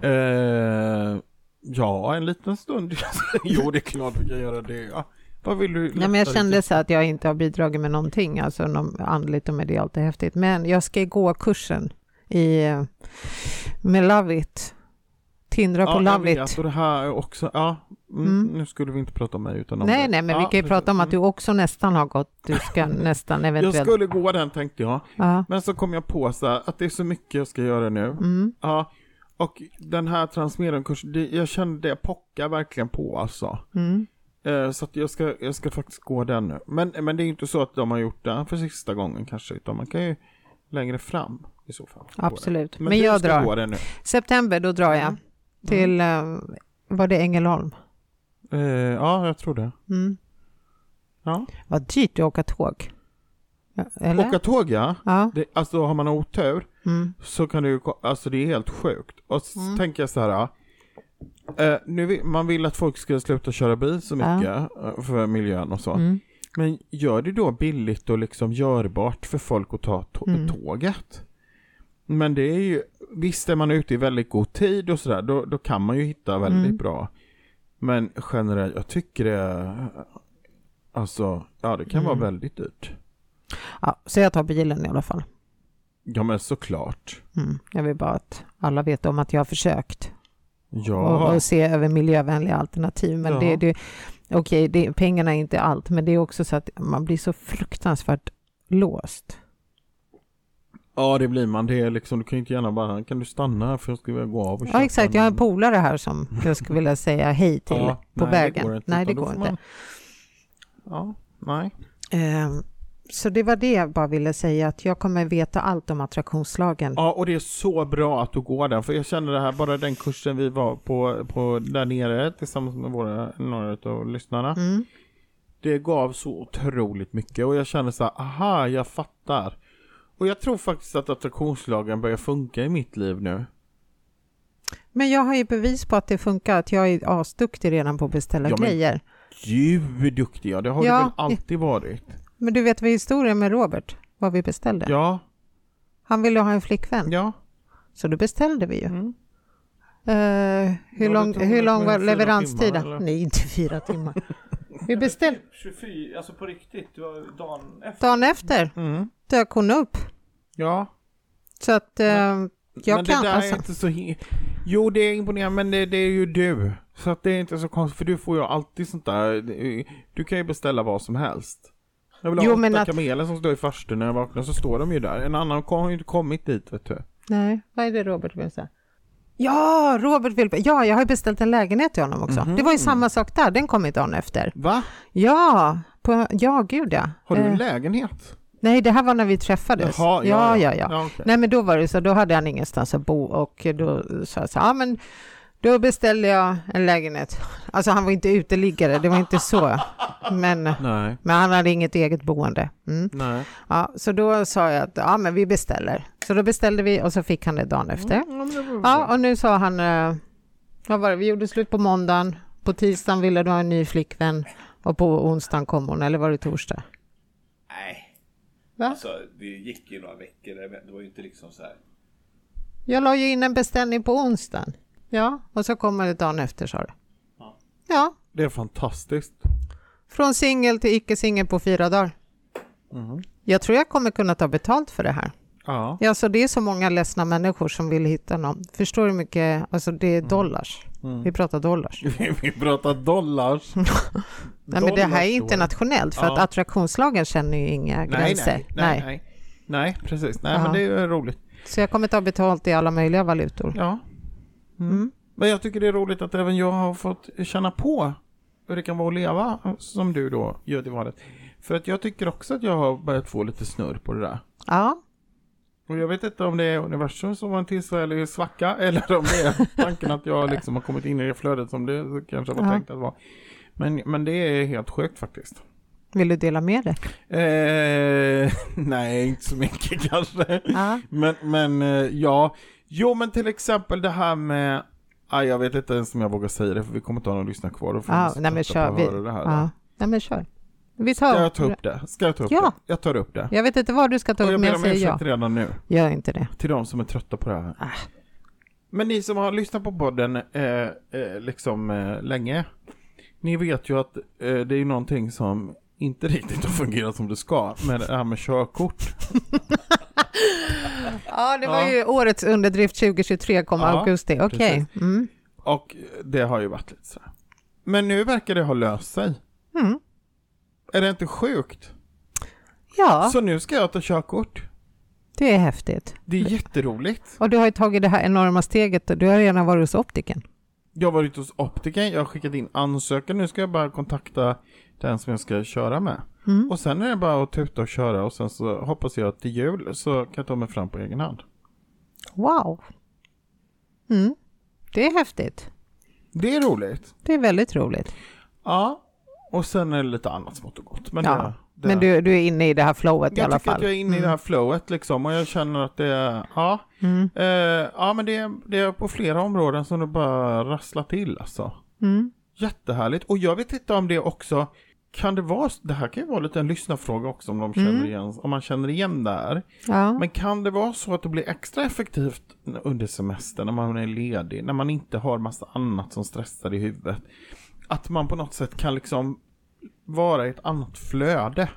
S2: Eh, ja, en liten stund. jo, det är klart vi kan göra det. Ja. Vad vill du?
S3: Nej, men jag
S2: lättare-
S3: kände så att jag inte har bidragit med någonting, alltså någon andligt och medialt är häftigt. Men jag ska gå kursen i, eh, med Love It. Tindra på
S2: ja, jag
S3: Love
S2: vet,
S3: It.
S2: och det här är också, ja, mm,
S3: Mm.
S2: nu skulle vi inte prata om mig utan om
S3: Nej,
S2: dig.
S3: nej, men
S2: ja,
S3: vi kan ju
S2: precis.
S3: prata om att
S2: Mm.
S3: du också nästan har gått. Du ska nästan eventuellt...
S2: Jag skulle gå den tänkte jag,
S3: Ja.
S2: men så kom jag på så här, att det är så mycket jag ska göra nu.
S3: Mm.
S2: Ja, Och den här transmediumkursen, det- jag kände det pockar verkligen på alltså.
S3: Mm.
S2: Eh, Så att jag ska, jag ska faktiskt gå den nu. Men, men det är ju inte så att de har gjort det för sista gången kanske, utan man kan ju längre fram i så fall. gå den.
S3: Absolut. Men,
S2: du
S3: jag
S2: ska
S3: drar.
S2: Gå Mm. den nu.
S3: September, då drar jag. Till, eh, var det Ängelholm?
S2: Eh, ja, jag tror det.
S3: Mm.
S2: Ja.
S3: Vad dyrt att åka tåg. Ja, Eller?
S2: Åka tåg ja.
S3: Ja.
S2: Det, alltså har man otur
S3: Mm.
S2: så kan det ju, ko- alltså det är helt sjukt. Och så tänker jag så här. Eh, nu vill, man vill att folk ska sluta köra bil så
S3: Ja.
S2: mycket eh, för miljön och så.
S3: Mm.
S2: Men gör det då billigt och liksom görbart för folk att ta tå-
S3: Mm.
S2: tåget. Men det är ju, visst är man ute i väldigt god tid och sådär, då, då kan man ju hitta väldigt
S3: Mm.
S2: bra. Men generellt, jag tycker det är, alltså, ja det kan
S3: Mm.
S2: vara väldigt dyrt.
S3: Ja, så jag tar bilen i alla fall.
S2: Ja men såklart.
S3: Mm. Jag vill bara att alla vet om att jag har försökt
S2: Ja,
S3: och, och se över miljövänliga alternativ. Men det,
S2: Jaha.
S3: det, okej, det, pengarna är inte allt, men det är också så att man blir så fruktansvärt låst.
S2: ja det blir man. Det är liksom, du kan ju inte gärna bara, kan du stanna här för jag skulle vilja gå av och
S3: Ja, exakt.
S2: en-
S3: Jag har en polare här som jag skulle vilja säga hej till
S2: Ja,
S3: på
S2: nej,
S3: vägen.
S2: går inte,
S3: nej, det
S2: utan då
S3: går
S2: får
S3: inte.
S2: Man... Ja, nej.
S3: Ehm, Så det var det jag bara ville säga, att jag kommer veta allt om attraktionslagen.
S2: Ja, och det är så bra att du går den, för jag känner det här, bara den kursen vi var på, på där nere tillsammans med våra, några av lyssnarna.
S3: Mm.
S2: Det gav så otroligt mycket och jag känner så här, aha, jag fattar. Och jag tror faktiskt att attraktionslagen börjar funka i mitt liv nu.
S3: Men jag har ju bevis på att det funkar, att jag är asduktig redan på att beställa
S2: Ja, men-
S3: grejer.
S2: Gud duktig jag, det har
S3: Ja,
S2: du väl alltid varit?
S3: Men du vet vad historien med Robert, vad vi beställde?
S2: Ja,
S3: Han ville ha en flickvän,
S2: ja.
S3: så då beställde vi ju.
S2: Mm.
S3: Eh, hur,
S2: Ja, det
S3: lång,
S2: tog
S3: hur lång
S2: mer
S3: var
S2: än fyra
S3: leveranstiden?
S2: timmar, eller?
S3: Nej, inte fyra timmar. Vi beställde,
S4: 24, alltså på riktigt, det var dagen efter.
S3: dagen efter
S2: Mm.
S3: dök hon upp.
S2: Ja.
S3: Så att eh, jag
S2: men
S3: kan,
S2: det där
S3: alltså,
S2: är inte så... hi- Jo, det är imponerande, men det, det är ju du. Så att det är inte så konstigt, för du får ju alltid sånt där. Du kan ju beställa vad som helst. Jag vill ha
S3: Jo,
S2: åtta
S3: men att-
S2: kameler som står i farstun när jag vaknar, så står de ju där. En annan kom- har ju inte kommit dit, vet du.
S3: nej, vad är det Robert vill säga? Ja, Robert vill, ja, jag har ju beställt en lägenhet till honom också. Det var
S2: Mhm.
S3: ju samma sak där, den kom ju dagen efter.
S2: Va?
S3: Ja, på, ja gud ja.
S2: Har du
S3: Eh,
S2: en lägenhet?
S3: Nej, det här var när vi träffades. ja, ja. ja.
S2: ja okej.
S3: Nej, men då var det så, då hade han ingenstans att bo och då sa jag så här, ja men då beställde jag en lägenhet. Alltså han var inte uteliggare, det var inte så. Men,
S2: Nej.
S3: men han hade inget eget boende. Mm.
S2: Nej.
S3: Ja, så då sa jag att, ja men vi beställer. Så då beställde vi och så fick han det dagen efter.
S2: Mm, Ja, men det var-
S3: Ja, och nu sa han, eh, vad var det, vi gjorde slut på måndagen, på tisdagen ville du ha en ny flickvän och på onsdagen kom hon, eller var det torsdag?
S4: Nej,
S3: Va?
S4: alltså det gick ju några veckor. där, men Det var ju inte liksom så här.
S3: Jag la ju in en beställning på onsdagen. Ja, och så kommer det dagen efter sa du.
S4: Ja.
S3: Ja,
S2: Det är fantastiskt.
S3: från singel till icke-singel på fyra dagar.
S2: Mm-hmm.
S3: Jag tror jag kommer kunna ta betalt för det här.
S2: Ja.
S3: Ja, så det är så många ledsna människor som vill hitta någon. Förstår du hur mycket, alltså det
S2: Mm.
S3: är dollars. Vi pratar dollars.
S2: Vi pratar dollars.
S3: Nej, men det här är
S2: Dollars,
S3: internationellt för
S2: Ja.
S3: att attraktionslagen känner ju inga
S2: nej,
S3: gränser.
S2: nej, nej, nej. Nej, precis. Nej,
S3: Ja.
S2: men det är ju roligt.
S3: Så jag kommer ta betalt i alla möjliga valutor. Mm.
S2: Ja. Mm. Men jag tycker det är roligt att även jag har fått känna på hur det kan vara att leva som du då gör det valet. För att jag tycker också att jag har börjat få lite snurr på det där.
S3: Ja,
S2: Och jag vet inte om det är universum som har en tillfällig svacka eller om det är tanken att jag liksom har kommit in i det flödet som det kanske var
S3: Ja.
S2: tänkt att vara. Men, men det är helt sjukt faktiskt.
S3: vill du dela med dig?
S2: Eh, nej, inte så mycket kanske.
S3: Ja.
S2: Men, men eh, ja, jo men till exempel det här med, aj, jag vet inte ens om jag vågar säga det för vi kommer inte ha någon lyssnare kvar. Då får
S3: Ja,
S2: vi
S3: Ah, nej men
S2: sitta och
S3: kör. Vi,
S2: höra det här.
S3: ja. Nej men kör. Vi
S2: Ska
S3: tar,
S2: jag ta upp det? Ska jag ta upp
S3: Ja.
S2: det? Jag tar upp det.
S3: Jag vet inte vad du ska ta
S2: Och
S3: upp,
S2: jag
S3: men
S2: ber
S3: jag
S2: om
S3: säger ja.
S2: ursäkt redan nu,
S3: Gör inte det.
S2: till de som är trötta på det här.
S3: Ah.
S2: Men ni som har lyssnat på podden eh, eh, liksom eh, länge, ni vet ju att eh, det är ju någonting som inte riktigt har fungerat som det ska med det här med körkort.
S3: Ja, det var
S2: Ja.
S3: ju årets underdrift 2023 kom
S2: Ja,
S3: augusti. Okej. Mm.
S2: Och det har ju varit lite så. här. Men nu verkar det ha löst sig.
S3: Mm.
S2: Är det inte sjukt?
S3: Ja,
S2: Så nu ska jag ta körkort.
S3: Det är häftigt.
S2: Det är jätteroligt.
S3: Och du har ju tagit det här enorma steget och du har redan varit hos optiken.
S2: Jag har varit hos optiken, jag har skickat in ansökan, nu ska jag bara kontakta den som jag ska köra med.
S3: Mm.
S2: Och sen är det bara att tuta och köra och sen så hoppas jag att till jul så kan jag ta mig fram på egen hand.
S3: Wow! Mm. Det är häftigt.
S2: Det är roligt.
S3: Det är väldigt roligt.
S2: Ja, och sen är det lite annat smått och gott. Men,
S3: Ja,
S2: det, det,
S3: Men du, du är inne i det här flowet i
S2: jag
S3: alla
S2: tycker
S3: fall.
S2: att jag är inne i det här flowet liksom och jag känner att det är, ja,
S3: Mm.
S2: eh, ja men det, är- det är på flera områden som det bara rasslar till alltså.
S3: Mm.
S2: Jättehärligt. Och jag vet inte om det också, kan det vara, det här kan ju vara lite en lyssnarfråga också om, de känner
S3: Mm.
S2: igen, om man känner igen det här.
S3: Ja.
S2: Men kan det vara så att det blir extra effektivt under semestern när man är ledig, när man inte har massa annat som stressar i huvudet? Att man på något sätt kan liksom vara i ett annat flöde.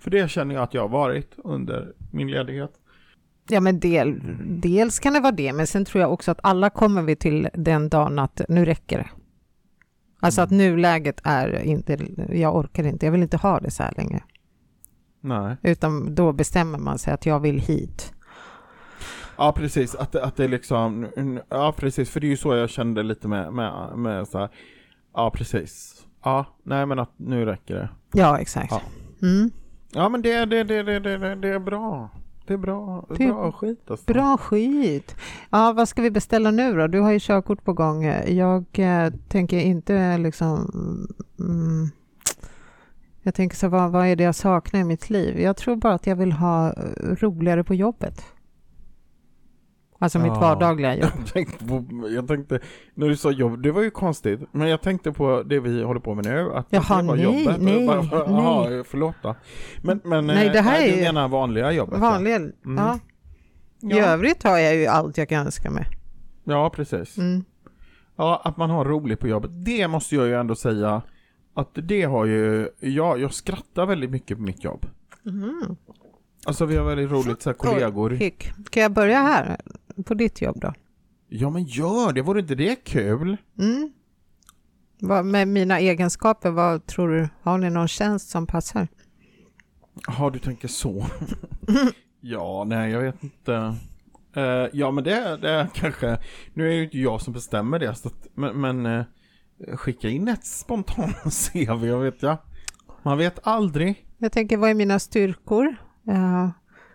S2: För det känner jag att jag har varit under min ledighet.
S3: Ja, men del, dels kan det vara det, men sen tror jag också att alla kommer vi till den dagen att nu räcker det. Alltså att nuläget är inte, jag orkar inte, jag vill inte ha det så här länge.
S2: Nej.
S3: Utan då bestämmer man sig att jag vill hit.
S2: Ja precis, att, det- att det är liksom, ja precis, för det är ju så jag kände lite med, med, med så här. ja precis. Ja, nej men att nu räcker det.
S3: Ja, exakt.
S2: Ja.
S3: Mm.
S2: Ja men det, det, det, det, det, det är bra. Det är bra,
S3: Det är
S2: bra skit alltså.
S3: Bra skit! Ja, vad ska vi beställa nu då? Du har ju körkort på gång. Jag eh, tänker inte eh, liksom... Mm, jag tänker så, vad, vad är det jag saknar i mitt liv? Jag tror bara att jag vill ha eh, roligare på jobbet. Alltså mitt
S2: Ja.
S3: vardagliga jobb.
S2: Jag tänkte på, jag tänkte, när du sa jobb, det var ju konstigt, men jag tänkte på det vi håller på med nu, att
S3: Jaha,
S2: det var
S3: nej,
S2: jobbet.
S3: nej,
S2: Jaha, förlåt då. Men, men
S3: Nej,
S2: eh,
S3: det här
S2: nej,
S3: är
S2: du
S3: ju-
S2: menar vanliga jobbet? ja.
S3: Vanliga... Ja. I
S2: Ja,
S3: övrigt har jag ju allt jag kan önska mig.
S2: ja, precis.
S3: Mm.
S2: Ja, att man har roligt på jobbet, det måste jag ju ändå säga, att det har ju, ja, jag skrattar väldigt mycket på mitt jobb.
S3: Mm.
S2: Alltså vi har väldigt roligt så här, kollegor.
S3: Hick. Kan jag börja här? På ditt jobb då?
S2: Ja men gör det, vore inte det kul?
S3: Mm. Vad, med mina egenskaper, vad tror du? Har ni någon tjänst som passar?
S2: Jaha, du tänker så. ja, nej, jag vet inte. Eh, ja, men det, det är kanske, nu är det ju inte jag som bestämmer det, så att, men, men eh, skicka in ett spontant CV, jag vet jag. Man vet aldrig.
S3: Jag tänker, vad är mina styrkor? Eh,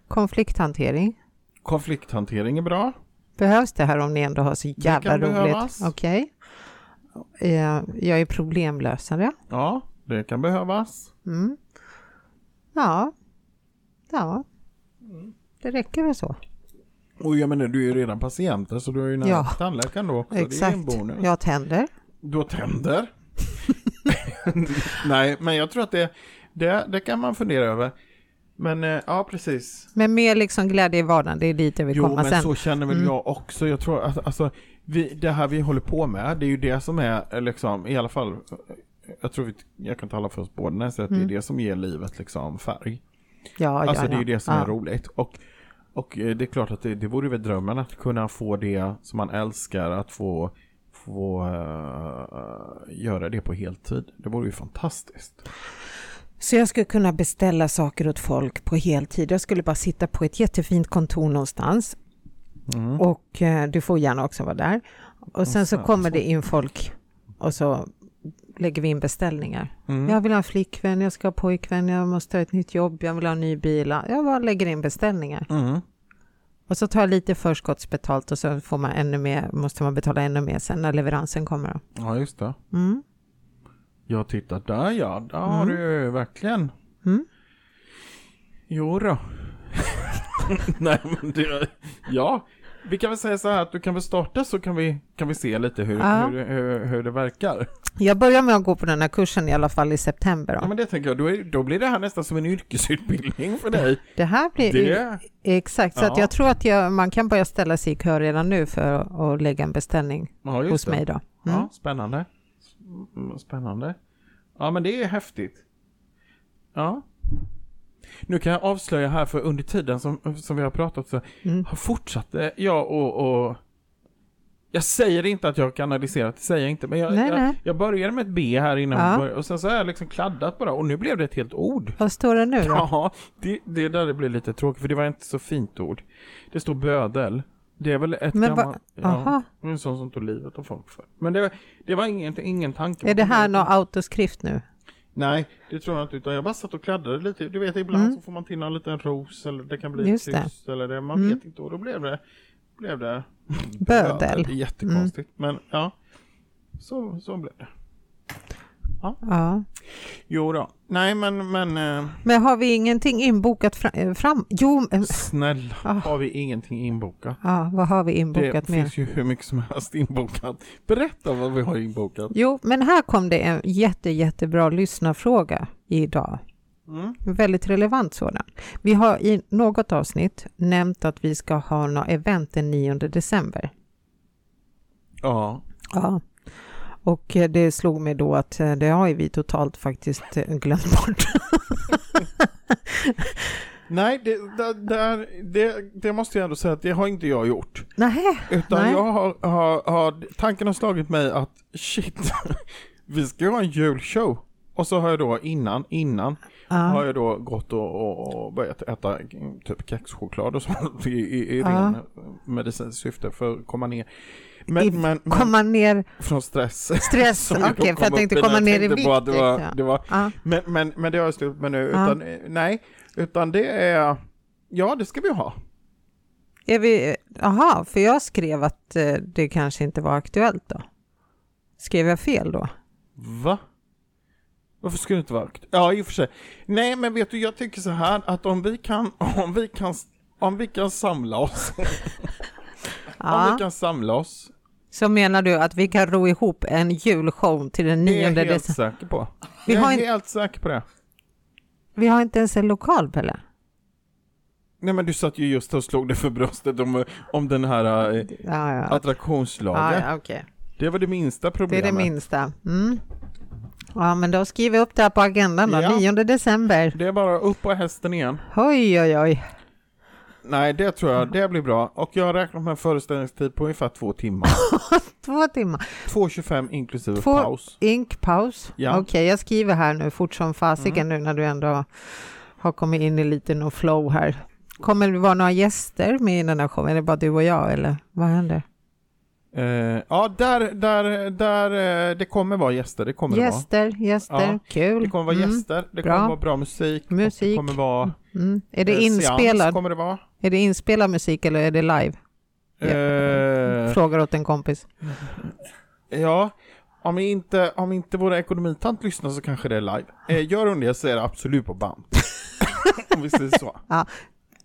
S3: konflikthantering.
S2: Konflikthantering är bra.
S3: Behövs det här om ni ändå har så jävla
S2: kan
S3: roligt?
S2: behövas.
S3: Okej. Eh, jag är problemlösare.
S2: Ja, det kan behövas.
S3: Mm. Ja. Ja. Det räcker väl så?
S2: Och jag menar, du är ju redan patienter så du är ju nära
S3: Ja.
S2: tandläkaren då också. Det är en
S3: Exakt.
S2: bonus.
S3: Jag har tänder.
S2: Du har tänder. Nej, men jag tror att det, det, det kan man fundera över. Men eh, ja, precis.
S3: Men mer liksom glädje i vardagen, det är dit jag vill
S2: Jo,
S3: komma
S2: men
S3: sen.
S2: så känner väl
S3: Mm.
S2: jag också. Jag tror att alltså, vi, det här vi håller på med, det är ju det som är eh, liksom, i alla fall, eh, jag tror vi, jag kan tala för oss båda när jag säger att
S3: Mm.
S2: det är det som ger livet liksom färg.
S3: Ja,
S2: alltså
S3: ja,
S2: det är
S3: ja.
S2: ju det som
S3: ja.
S2: är roligt. Och, och eh, det är klart att det, det vore väl drömmen att kunna få det som man älskar, att få, få eh, göra det på heltid. Det vore ju fantastiskt.
S3: Så jag skulle kunna beställa saker åt folk på heltid. Jag skulle bara sitta på ett jättefint kontor någonstans
S2: Mm.
S3: och eh, du får gärna också vara där. Och sen så
S2: sen
S3: kommer
S2: så-
S3: det in folk och så lägger vi in beställningar.
S2: Mm.
S3: Jag vill ha en flickvän, jag ska ha pojkvän, jag måste ha ett nytt jobb, jag vill ha en ny bil. Jag bara lägger in beställningar.
S2: Mm.
S3: Och så tar jag lite förskottsbetalt och så får man ännu mer, måste man betala ännu mer sen när leveransen kommer.
S2: Ja, just det.
S3: Mm.
S2: Jag tittar där ja, där har
S3: Mm.
S2: du verkligen.
S3: Mm.
S2: Jo då. Nej men det, ja. Vi kan väl säga så här att du kan väl starta så kan vi, kan vi se lite hur,
S3: Ja.
S2: hur, hur, hur det verkar.
S3: Jag börjar med att gå på den här kursen i alla fall i september. Då.
S2: Ja men det tänker jag, då, är, då blir det här nästan som en yrkesutbildning för dig.
S3: Det här blir
S2: Det,
S3: Exakt, så att
S2: Ja.
S3: jag tror att jag, man kan börja ställa sig i kö redan nu för att- att lägga en beställning
S2: ja,
S3: hos
S2: just det.
S3: mig då. Mm.
S2: Ja, spännande. Mm, Spännande. Ja, men det är häftigt. Ja. Nu kan jag avslöja här, för under tiden som, som vi har pratat så
S3: Mm.
S2: har fortsatt eh, jag och, och Jag säger inte att jag kanaliserat, det säger jag inte. Men jag,
S3: Nej,
S2: jag,
S3: nej.
S2: jag började med ett B här innan vi
S3: Ja.
S2: började, och sen så har jag liksom kladdat på det och nu blev det ett helt ord.
S3: Vad står det nu då?
S2: Ja, det, det är där det blir lite tråkigt för det var inte så fint ord. Det står bödel. Det är väl ett
S3: Men va-
S2: gammalt... Ja,
S3: Aha.
S2: det är en sån som tog livet av folk för. Men det, det var ingen, ingen tanke.
S3: Är det här
S2: något?
S3: någon autoskrift nu?
S2: Nej, det tror jag inte. Utan jag bara satt och kladdade lite. Du vet, ibland så får man till en liten ros eller det kan bli
S3: Mm. Just Mm.
S2: ett kryss eller det. Man vet inte. Och då blev det... Blev det
S3: Bödel. Mm.
S2: Det är jättekonstigt. Men ja, så, så blev det.
S3: Ja.
S2: Jo då. Nej, men... men eh,
S3: Men har vi ingenting inbokat fra- eh, fram? Jo, eh,
S2: snälla, har vi ingenting inbokat?
S3: ja, vad har vi
S2: Det
S3: inbokat mer?
S2: finns ju hur mycket som helst inbokat. Berätta vad vi har inbokat.
S3: Jo, men här kom det en jätte, jättebra lyssnarfråga idag.
S2: Mm.
S3: En Väldigt relevant sådan. Vi har i något avsnitt nämnt att vi ska ha något event den 9 december.
S2: Ja.
S3: Ja. Och eh, det slog mig då att eh, det har ju vi totalt faktiskt eh, glömt bort.
S2: Nej, det, där- där, det, det måste jag ändå säga att det har inte jag gjort.
S3: Nej,
S2: Utan
S3: Nej.
S2: jag har, har, har, tanken har slagit mig att shit, vi ska ju ha en julshow. Och så har jag då innan, innan, har jag då gått och, och, och börjat äta mm, typ kexchoklad och sånt i, i, i
S3: Ja.
S2: ren medicinskt syfte för att komma ner. Men,
S3: I-
S2: men, men
S3: komma ner
S2: från stress.
S3: stress.
S2: Som jag
S3: Okej,
S2: kom
S3: för jag
S2: upp
S3: tänkte
S2: i när
S3: komma
S2: jag
S3: ner i
S2: tänkte
S3: vikt.
S2: på att Det
S3: ja.
S2: var, det var,
S3: Ja.
S2: men, men, men det har jag slut med nu.
S3: Ja.
S2: Utan, eh, Nej, utan det är... Ja, det ska vi ha.
S3: Är vi, aha, för jag skrev att eh, det kanske inte var aktuellt då. Skrev jag fel då?
S2: Va? Varför skulle det inte vara aktuellt? Ja, i och för sig. Nej, men vet du, jag tycker så här att om vi kan, om vi kan, om vi kan samla oss, om vi
S3: Ja.
S2: kan samla oss,
S3: Så menar du att vi kan ro ihop en julshow till den
S2: det är
S3: 9
S2: jag helt
S3: december?
S2: säker på.
S3: Vi
S2: jag
S3: har
S2: är
S3: en-
S2: helt säker på det.
S3: Vi har inte ens en lokal, Pelle.
S2: Nej, men du satt ju just och slog dig för bröstet om, om den här eh,
S3: Ja, ja.
S2: attraktionslagen.
S3: ja, ja okej.
S2: Det var det minsta
S3: Det är
S2: problemet.
S3: det minsta. Mm. Ja, men då skriver jag upp det här på agendan då,
S2: Ja.
S3: 9 december.
S2: Det är bara upp på hästen igen.
S3: Oj, oj, oj.
S2: Nej, det tror jag. Det blir bra. Och jag har räknat med en föreställningstid på ungefär två timmar.
S3: Två timmar.
S2: 2.25 inklusive
S3: Två-
S2: paus.
S3: Ink, paus.
S2: Ja. Mm.
S3: Okej, jag skriver här nu fort som fasiken nu när du ändå har kommit in i lite no flow här. Kommer det vara några gäster med i den här showen? Är det bara du och jag eller vad händer?
S2: Eh, ja, där, där, där, eh, det kommer vara gäster. Det kommer det
S3: Gäster, gäster,
S2: Ja,
S3: kul.
S2: vara. Det kommer vara
S3: Mm,
S2: gäster. Det
S3: Bra.
S2: kommer vara bra musik. och Det
S3: Musik.
S2: kommer vara...
S3: Mm. Är,
S2: eh,
S3: det
S2: Seans
S3: inspelad?
S2: kommer det vara.
S3: är det inspelad musik eller är det live? Ja.
S2: Eh,
S3: Frågar åt en kompis.
S2: ja, om inte, om inte våra ekonomitant lyssnar så kanske det är live. Eh, gör hon det så är det absolut på band. om vi säger så.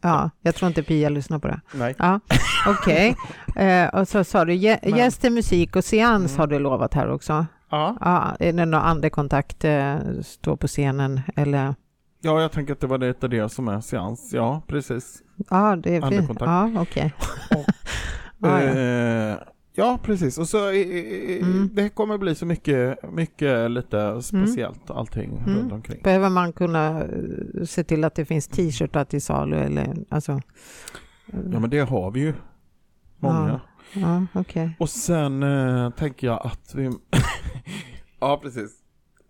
S3: Ja, jag tror inte Pia lyssnar på det.
S2: Nej.
S3: Ja, okej. Eh, och så sa du gä-
S2: Men- Mm.
S3: gäster, musik och seans har du lovat här också.
S2: Ja.
S3: Ja, är det någon andekontakt, eh, stå på scenen eller?
S2: ja, jag tänker att det var lite det som är seans. Ja, precis.
S3: Ja, det är fint.
S2: Andekontakt.
S3: Ja, okej. Ah, Ja, ja.
S2: Eh, ja, precis. Och så eh, eh,
S3: Mm.
S2: det kommer bli så mycket, mycket lite speciellt allting
S3: Mm.
S2: runt omkring.
S3: Behöver man kunna eh, se till att det finns t-shirtar till salu eller alltså?
S2: Ja, men det har vi ju. Många.
S3: Ja. Ja, okej.
S2: Och sen eh, tänker jag att vi... ja, precis.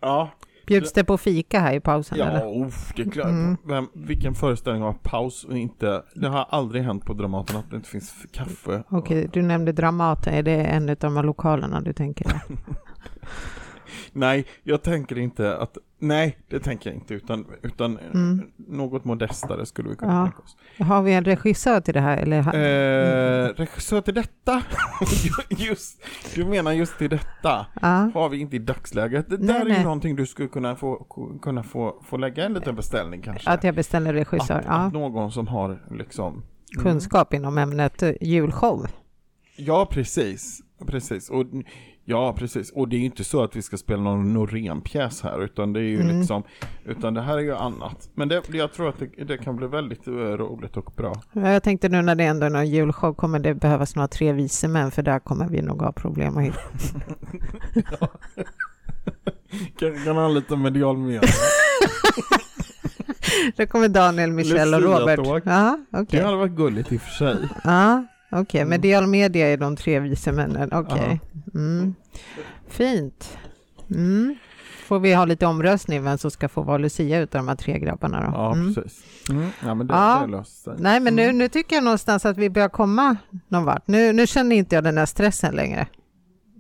S2: Ja,
S3: Bjuds det på fika här i pausen
S2: ja
S3: eller?
S2: uff, det är klart.
S3: Mm.
S2: Vem, vilken föreställning har paus och inte... Det har aldrig hänt på Dramaten att det inte finns f- kaffe.
S3: Okej, du nämnde Dramaten, är det en av de här lokalerna du tänker?
S2: Nej, jag tänker inte att... Nej, det tänker jag inte. Utan, utan eh,
S3: Mm.
S2: något modestare skulle vi kunna
S3: Ja.
S2: tänka oss.
S3: Har vi en regissör till det här eller? ha- Mm.
S2: Eh, regissör till detta? just, du menar just till detta?
S3: Ja.
S2: Har vi inte i dagsläget. Det
S3: Nej,
S2: där är ju
S3: nej.
S2: någonting du skulle kunna få, kunna få, få lägga en liten beställning kanske.
S3: Att jag beställer regissör?
S2: att,
S3: Ja.
S2: att någon som har liksom...
S3: kunskap inom ämnet eh, julshow.
S2: Ja, precis. Precis. Och, ja, precis. Och det är ju inte så att vi ska spela någon Norén-pjäs här, utan det är ju
S3: Mm.
S2: liksom... Utan det här är ju annat. Men det, jag tror att det, det kan bli väldigt eh, roligt och bra.
S3: Jag tänkte nu när det ändå är någon julshow kommer det behövas några tre vise män för där kommer vi nog ha problem att hitta.
S2: Kan, kan ha lite medial med.
S3: Det kommer Daniel, Michelle och
S2: Lucia
S3: Robert.
S2: Tåg.
S3: Ja,
S2: Det
S3: okej.
S2: hade varit gulligt i och för sig.
S3: Ja, Okej,
S2: Mm.
S3: men Dial Media är de tre vise männen. Okej. Mm. Fint. Mm. Får vi ha lite omröstning vem som ska få vara Lucia utav de här tre grabbarna då?
S2: Ja,
S3: Mm.
S2: precis. Mm. Ja, men det,
S3: Ja.
S2: det löser sig.
S3: Nej, men nu, nu tycker jag någonstans att vi börjar komma någon vart. Nu, nu känner inte jag den här stressen längre.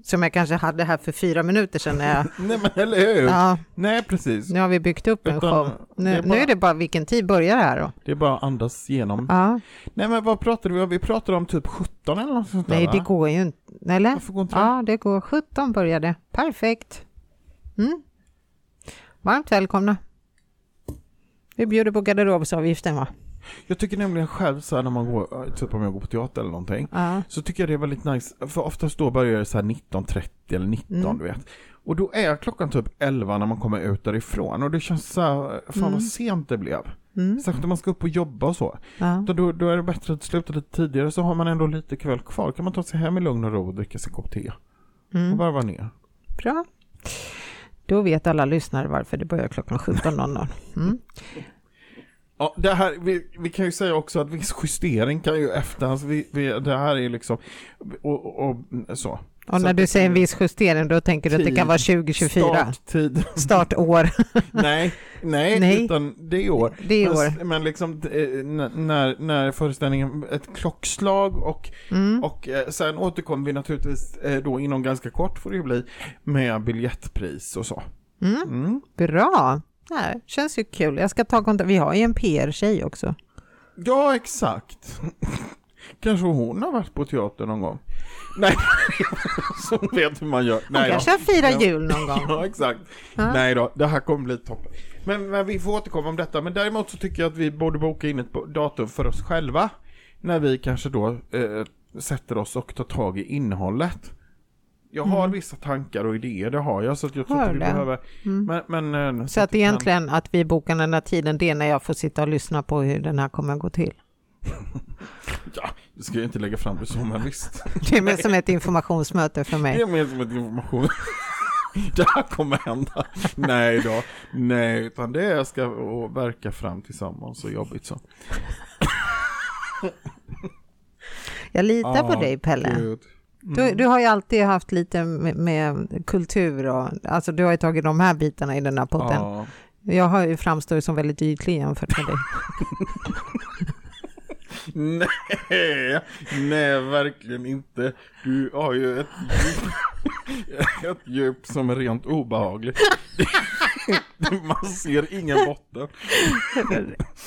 S3: Som jag kanske hade här för fyra minuter sedan. När jag,
S2: Nej, men eller hur?
S3: ja,
S2: Nej, precis.
S3: nu har vi byggt upp en
S2: Utan,
S3: show.
S2: det
S3: Nu,
S2: är
S3: nu
S2: bara-
S3: är det bara vilken tid börjar det här då?
S2: Det är bara att andas igenom.
S3: Ja.
S2: Nej, men vad pratade vi om? Vi pratade om typ 17 eller något sånt där,
S3: Nej,
S2: va?
S3: det går ju inte. Eller?
S2: Varför går inte det?
S3: Ja, det går. 17 började. Perfekt. Mm. Varmt välkomna. Vi bjuder på garderobsavgiften va?
S2: Jag tycker nämligen själv så här när man går, typ om jag går på teater eller någonting,
S3: Ja.
S2: så tycker jag det är väldigt nice, för oftast då börjar det så här 19.30 eller 19
S3: Mm.
S2: du vet. Och då är klockan typ 11 när man kommer ut därifrån och det känns så här, fan
S3: Mm.
S2: vad sent det blev.
S3: Mm.
S2: Särskilt om man ska upp och jobba och så.
S3: Ja.
S2: Då- Då, då är det bättre att sluta lite tidigare så har man ändå lite kväll kvar. Kan man ta sig hem i lugn och ro och dricka sin kopp te och
S3: Mm.
S2: varva ner.
S3: Bra. Då vet alla lyssnare varför det börjar klockan 17.00. Mm.
S2: Ja, det här, vi, vi kan ju säga också att viss justering kan ju efterhands, vi, vi, det här är ju liksom, och, och, och så.
S3: Och
S2: Så
S3: när
S2: att
S3: du
S2: det
S3: säger en
S2: kan ju-
S3: viss justering, då tänker du att det kan vara 2024?
S2: Starttid.
S3: Startår.
S2: nej, nej,
S3: Nej.
S2: utan det är år.
S3: Det är
S2: Men-
S3: år.
S2: Men liksom eh, n- när, när föreställningen, ett klockslag och,
S3: Mm.
S2: och eh, sen återkommer vi naturligtvis eh, då inom ganska kort får det ju bli med biljettpris och så.
S3: Mm.
S2: Mm.
S3: Bra. Nej, känns ju kul. Jag ska ta kontakt. Vi har ju en PR-tjej också.
S2: Ja, exakt. Kanske hon har varit på teater någon gång. Nej, så hon vet hur man gör.
S3: Hon
S2: Nej,
S3: kanske firar
S2: Ja.
S3: jul någon gång.
S2: Ja, exakt.
S3: Ja.
S2: Nej då, det här kommer bli toppen. Men, men vi får återkomma om detta. Men däremot så tycker jag att vi borde boka in ett bo- datum för oss själva. När vi kanske då eh, sätter oss och tar tag i innehållet. Jag har vissa tankar och idéer, det har jag. Så att jag tror
S3: Mm. Har
S2: inte vi
S3: du det?
S2: behöver... Men, men, eh,
S3: Så att
S2: vi kan-
S3: egentligen att vi bokar den här tiden, det är när jag får sitta och lyssna på hur den här kommer att gå till.
S2: Ja, vi ska ju inte lägga fram det som, men visst.
S3: Det är mer som ett informationsmöte för
S2: Det
S3: mig.
S2: är mer som ett information. Det här kommer hända. Nej då. Nej, utan det ska och verka fram tillsammans. Så jobbigt så.
S3: Jag litar på
S2: Ja,
S3: dig Pelle.
S2: gud.
S3: Du, du har ju alltid haft lite med, med kultur och alltså du har ju tagit de här bitarna i den här podden.
S2: Ja.
S3: Jag har ju framstår som väldigt ytlig jämfört med dig.
S2: Nej, nej verkligen inte. Du har ju ett djup, ett djup som är rent obehagligt. Man ser ingen botten.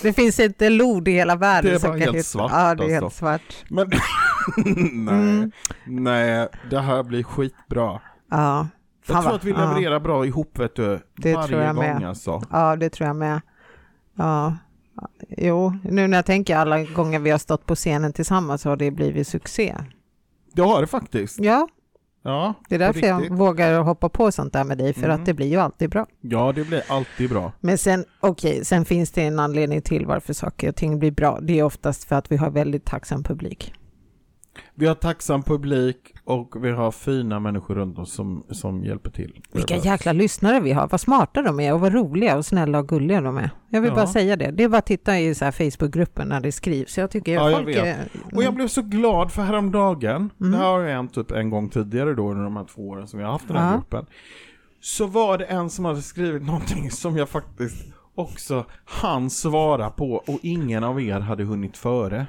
S3: Det finns inte lod i hela världen
S2: Det är
S3: som
S2: bara
S3: kan
S2: helt
S3: hitta-
S2: svart,
S3: Ja, det är helt
S2: alltså.
S3: svart.
S2: Men nej,
S3: Mm.
S2: nej, det här blir skitbra.
S3: Ja.
S2: Jag
S3: Fan
S2: tror
S3: vad-
S2: att vi
S3: ja.
S2: levererar bra ihop vet du.
S3: Det
S2: varje
S3: tror jag
S2: gång
S3: med.
S2: alltså.
S3: Ja, det tror jag med. Ja. Jo, nu när jag tänker alla gånger vi har stått på scenen tillsammans har det blivit succé.
S2: Det har det faktiskt.
S3: Ja,
S2: Ja,
S3: det är
S2: på
S3: därför jag
S2: riktigt.
S3: vågar hoppa på sånt där med dig, för
S2: Mm.
S3: att det blir ju alltid bra.
S2: Ja, det blir alltid bra.
S3: Men sen, okej, sen finns det en anledning till varför saker och ting blir bra. Det är oftast för att vi har väldigt tacksam publik.
S2: Vi har tacksam publik och vi har fina människor runt oss som, som hjälper till.
S3: Vilka jäkla lyssnare vi har, vad smarta de är och vad roliga och snälla och gulliga de är. Jag vill bara
S2: Ja.
S3: säga det, det är bara att titta i så här Facebookgruppen när det skrivs. Jag tycker
S2: Ja, jag
S3: folk
S2: vet.
S3: är...
S2: Och jag blev så glad för häromdagen,
S3: Mm.
S2: det här har ju hänt typ en gång tidigare då under de här två åren som vi har haft den här
S3: Ja.
S2: gruppen. Så var det en som hade skrivit någonting som jag faktiskt också hann svara på och ingen av er hade hunnit före.